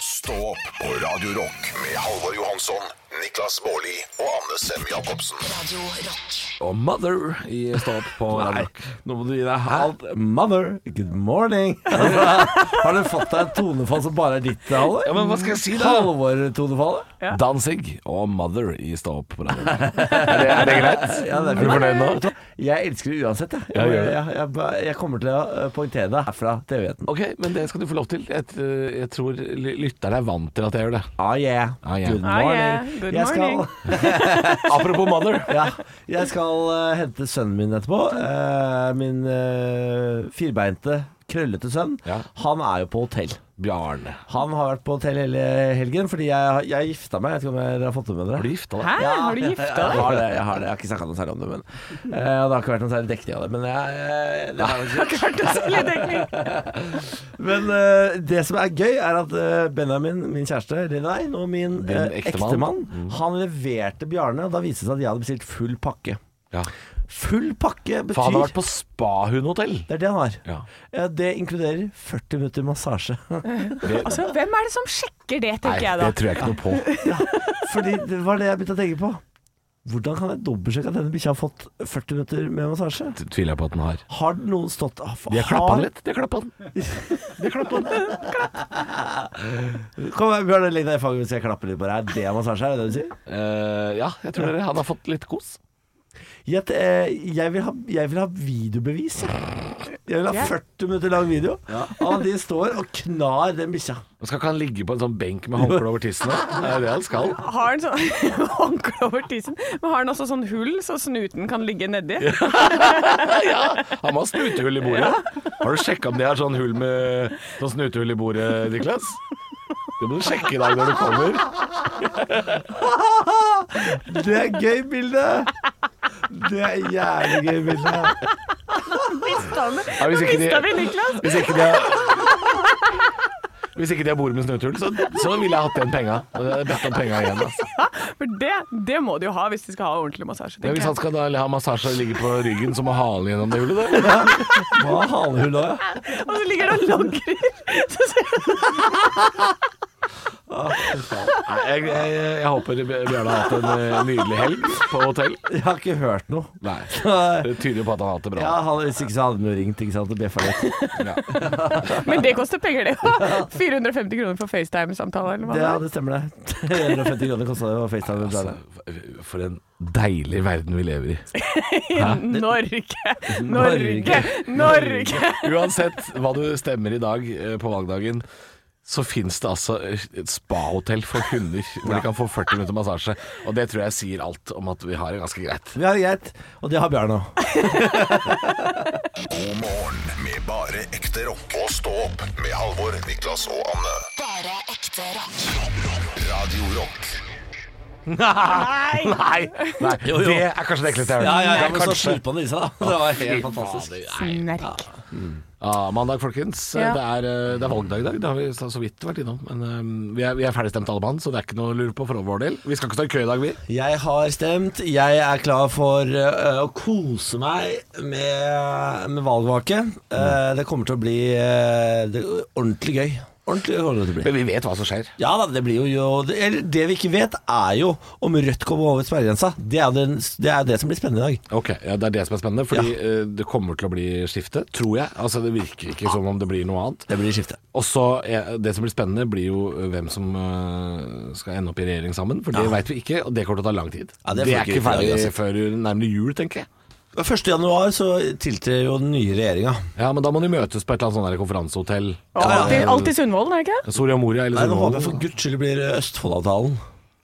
Speaker 2: Stå opp på Radio Rock med Halvor Johansson, Niklas Baarli og Anne Sem Jacobsen.
Speaker 1: Radio Rock.
Speaker 5: Og Mother i Stå opp på
Speaker 3: Nei, nå må du gi deg halvt. Mother, good morning. Altså, har du fått deg et tonefall som bare er ditt, Halvor?
Speaker 5: Ja, men hva skal jeg si da?
Speaker 3: Halvor-tonefallet?
Speaker 5: Danzig og Mother i Stå opp på radioen. Er det, er det greit?
Speaker 3: Ja, det
Speaker 5: Er du fornøyd nå?
Speaker 3: Vet du hva? Jeg elsker det uansett, jeg.
Speaker 5: Ja,
Speaker 3: Jeg,
Speaker 5: gjør det.
Speaker 3: jeg, jeg, jeg kommer til å eh, poengtere det herfra til evigheten.
Speaker 5: Ok, men det skal du få lov til. Jeg, eh, jeg tror ly- lytterne er vant til at jeg gjør det.
Speaker 3: Ah, yeah.
Speaker 5: Ah, yeah.
Speaker 3: Good
Speaker 4: Ah,
Speaker 3: morning.
Speaker 4: yeah. Good
Speaker 3: jeg skal,
Speaker 4: morning.
Speaker 5: [laughs] Apropos Mother.
Speaker 3: ja, jeg skal eh, hente sønnen min etterpå. Eh, min eh, firbeinte, krøllete sønn.
Speaker 5: Ja.
Speaker 3: Han er jo på hotell.
Speaker 5: Bjarne.
Speaker 3: Han har vært på hotell hele helgen fordi jeg, jeg gifta meg. Jeg vet ikke om dere har fått det med dere?
Speaker 5: Har du gifta deg?
Speaker 4: Hæ, har du
Speaker 3: [laughs] Jeg
Speaker 4: gifta deg?
Speaker 3: har det, jeg har det. Jeg har ikke snakka noe særlig om det, men eh, og Det har ikke vært noe særlig dekning av det. Men, jeg, eh, det, har jeg ikke. men eh, det som er gøy, er at eh, Benjamin, min kjæreste, eller nei, nå min
Speaker 5: Din
Speaker 3: eh,
Speaker 5: ektemann. Mm.
Speaker 3: ektemann, han leverte Bjarne, og da viste det seg at jeg hadde bestilt full pakke.
Speaker 5: Ja.
Speaker 3: Full pakke betyr
Speaker 5: For han har vært på Spahun-hotell.
Speaker 3: Det er det han har.
Speaker 5: Ja.
Speaker 3: Eh, Det inkluderer 40 minutter [laughs] massasje.
Speaker 4: Altså, hvem er det som sjekker det, tenker jeg da.
Speaker 5: det tror jeg ikke noe på.
Speaker 3: Fordi det var det jeg begynte å tenke på. Hvordan kan jeg dobbeltsjekke at denne bikkja har fått 40 minutter med massasje?
Speaker 5: Det tviler jeg på at den har.
Speaker 3: Har noen stått
Speaker 5: De har klappa den litt. De har klappa den. De har klappa den.
Speaker 3: Kom her, Bjørn, legg deg i fanget mens jeg klapper litt på deg. Er det massasje her, er det det du sier?
Speaker 5: Eh, ja, jeg tror dere. Han har fått litt kos.
Speaker 3: Jeg, eh, jeg, vil ha, jeg vil ha videobevis. jeg. Jeg vil ha
Speaker 4: Ja.
Speaker 3: 40 minutter lang video av at de står og knar den bikkja.
Speaker 5: Og skal ikke han ligge på en sånn benk med håndkle over tissen? Det er det han skal.
Speaker 4: Har han sånn [laughs] håndkle over tissen, men har han også sånn hull så snuten kan ligge nedi? [laughs]
Speaker 5: Ja, han må ha snutehull i bordet. Har du sjekka om de har sånn hull med sånn snutehull i bordet, Niklas? Det må du sjekke i dag når du kommer.
Speaker 3: Det er gøy bilde! Det er jævlig gøy bilde.
Speaker 5: Ja, hvis, ikke
Speaker 4: Mista vi
Speaker 5: de,
Speaker 4: Niklas?
Speaker 5: hvis ikke de har hvis ikke de har bord med snutehull, så, så ville jeg hatt igjen penga. Jeg hadde Bedt om penga igjen. Altså.
Speaker 4: For det, det må de jo ha hvis de skal ha ordentlig massasje.
Speaker 5: Men
Speaker 4: tenker
Speaker 5: hvis han
Speaker 4: jeg.
Speaker 5: skal da ha massasje og ligge på ryggen, så må halen gjennom det hullet. Der.
Speaker 3: Hva er halehull òg, ja?
Speaker 4: Og så ligger det og logrer. Så ser du
Speaker 5: Nei, Jeg, jeg, jeg håper Bjørn har hatt en eh, nydelig helg på hotell.
Speaker 3: Jeg har ikke hørt noe. [laughs]
Speaker 5: Nei,
Speaker 3: Nei.
Speaker 5: Det tyder jo på at han har hatt det bra.
Speaker 3: eh,
Speaker 5: [laughs]
Speaker 3: Ja, han, Hvis ikke så hadde han jo ringt ikke sant, og bjeffa [laughs] litt.
Speaker 4: Men det koster penger, det [laughs] òg. 450 kroner for FaceTime-samtale eller hva
Speaker 3: Det,
Speaker 4: det
Speaker 3: ja,
Speaker 4: er.
Speaker 3: det stemmer det. [laughs] 350 kroner kosta det å FaceTime. med Bjarne.
Speaker 5: Altså, for en deilig verden vi lever i.
Speaker 4: Norge, Norge, Norge!
Speaker 5: Uansett hva du stemmer i dag eh, på valgdagen, så fins det altså et spahotell for hunder hvor de kan få 40 minutter massasje. Og det tror jeg sier alt om at vi har det ganske greit.
Speaker 3: Vi har det greit, og det har Bjarne òg.
Speaker 2: God morgen med bare ekte rock. Og stå opp med Halvor, Niklas og Anne.
Speaker 1: Bare ekte rock.
Speaker 2: Radio Rock
Speaker 5: Nei! Nei,
Speaker 3: [laughs] jo.
Speaker 5: Det er kanskje det ekleste jeg
Speaker 3: Ja,
Speaker 5: har hørt.
Speaker 3: ja, ja, men så
Speaker 5: Kanskje.
Speaker 3: slurpa han i seg, da. [laughs] Det var helt fantastisk.
Speaker 4: Snerk.
Speaker 5: Ja, mandag, folkens.
Speaker 4: Ja.
Speaker 5: Det, er, eh, det er valgdag i dag. Det har vi så så vidt vært innom. Men eh, vi er, vi er ferdigstemt alle mann, så det er ikke noe å lure på for vår del. Vi skal ikke stå i kø i dag, vi.
Speaker 3: Jeg har stemt. Jeg er klar for eh, å kose meg Mm. med, med valgvake. Eh, det kommer til å bli eh, det, ordentlig gøy. Ordentlig kommer det til å bli.
Speaker 5: Men vi vet hva som skjer.
Speaker 3: Ja da, det blir jo, jo det, eller det vi ikke vet, er jo om Rødt kommer over sperregrensa. Det er jo den- det, er det som blir spennende i dag.
Speaker 5: Ok, ja, Det er det som er spennende, fordi eh, det kommer til å bli skifte, tror jeg. Altså Det virker ikke som om det blir noe annet.
Speaker 3: Det blir skifte.
Speaker 5: Og så er- Det som blir spennende, blir jo eh, hvem som eh, skal ende opp i regjering sammen. For det vet veit vi ikke, og det kommer til å ta lang tid.
Speaker 3: Ja,
Speaker 5: det,
Speaker 3: det
Speaker 5: er
Speaker 3: får vi ikke
Speaker 5: ikke
Speaker 3: i
Speaker 5: ferdig
Speaker 3: dag, altså.
Speaker 5: før nærmere jul, tenker jeg.
Speaker 3: 1. januar så tiltrer jo den nye regjeringa.
Speaker 5: Ja, Men da må de møtes på et eller annet sånn der konferansehotell.
Speaker 4: Alltid, alltid Sundvolden, er det ikke?
Speaker 5: Soria Moria eller sånn.
Speaker 3: Nei, nå håper jeg for
Speaker 5: Sundvolden.
Speaker 3: guds skyld det blir Østfoldavtalen.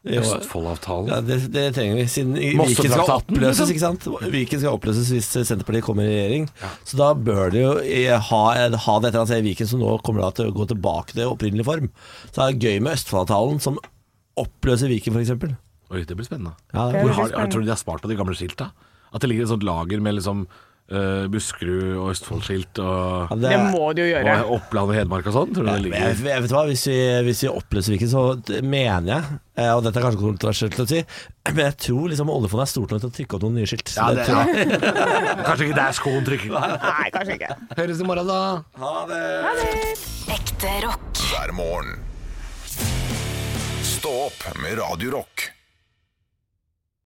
Speaker 3: I år.
Speaker 5: Østfoldavtalen.
Speaker 3: Ja, det, det trenger vi, siden i- Viken skal
Speaker 5: Mossetraktaten,
Speaker 3: oppløses,
Speaker 5: liksom.
Speaker 3: ikke sant? Viken skal oppløses hvis Senterpartiet kommer i regjering. Så da bør de jo eh, ha, ha det et eller annet sted i Viken som nå kommer da til å gå tilbake til opprinnelig form. Så det er gøy med Østfoldavtalen som oppløser Viken, f.eks.
Speaker 5: Oi, det blir spennende.
Speaker 3: Ja, det
Speaker 4: er
Speaker 5: Hvor
Speaker 4: veldig
Speaker 5: har, jeg
Speaker 4: spennende.
Speaker 5: tror de har spart på de gamle skilta. At det ligger et sånt lager med liksom eh, Buskerud og Østfold-skilt og,
Speaker 3: Ja,
Speaker 4: Det må du jo gjøre.
Speaker 5: og Oppland og Hedmark og sånn. Tror du
Speaker 3: jeg,
Speaker 5: det
Speaker 3: jeg,
Speaker 5: ligger
Speaker 3: jeg vet hva, hvis vi, hvis vi oppløser Viken, så t- mener jeg, eh, og dette er kanskje kontroversielt å si, [clears throat] men jeg tror liksom oljefondet er stort nok til å trykke opp noen nye skilt. Så
Speaker 5: Ja,
Speaker 3: det tror jeg-
Speaker 5: [laughs] Kanskje ikke der skoen trykker.
Speaker 4: Nei, kanskje ikke.
Speaker 5: Høres i morgen, da.
Speaker 1: Ekte rock.
Speaker 2: hver morgen. Stå opp med Radio Rock.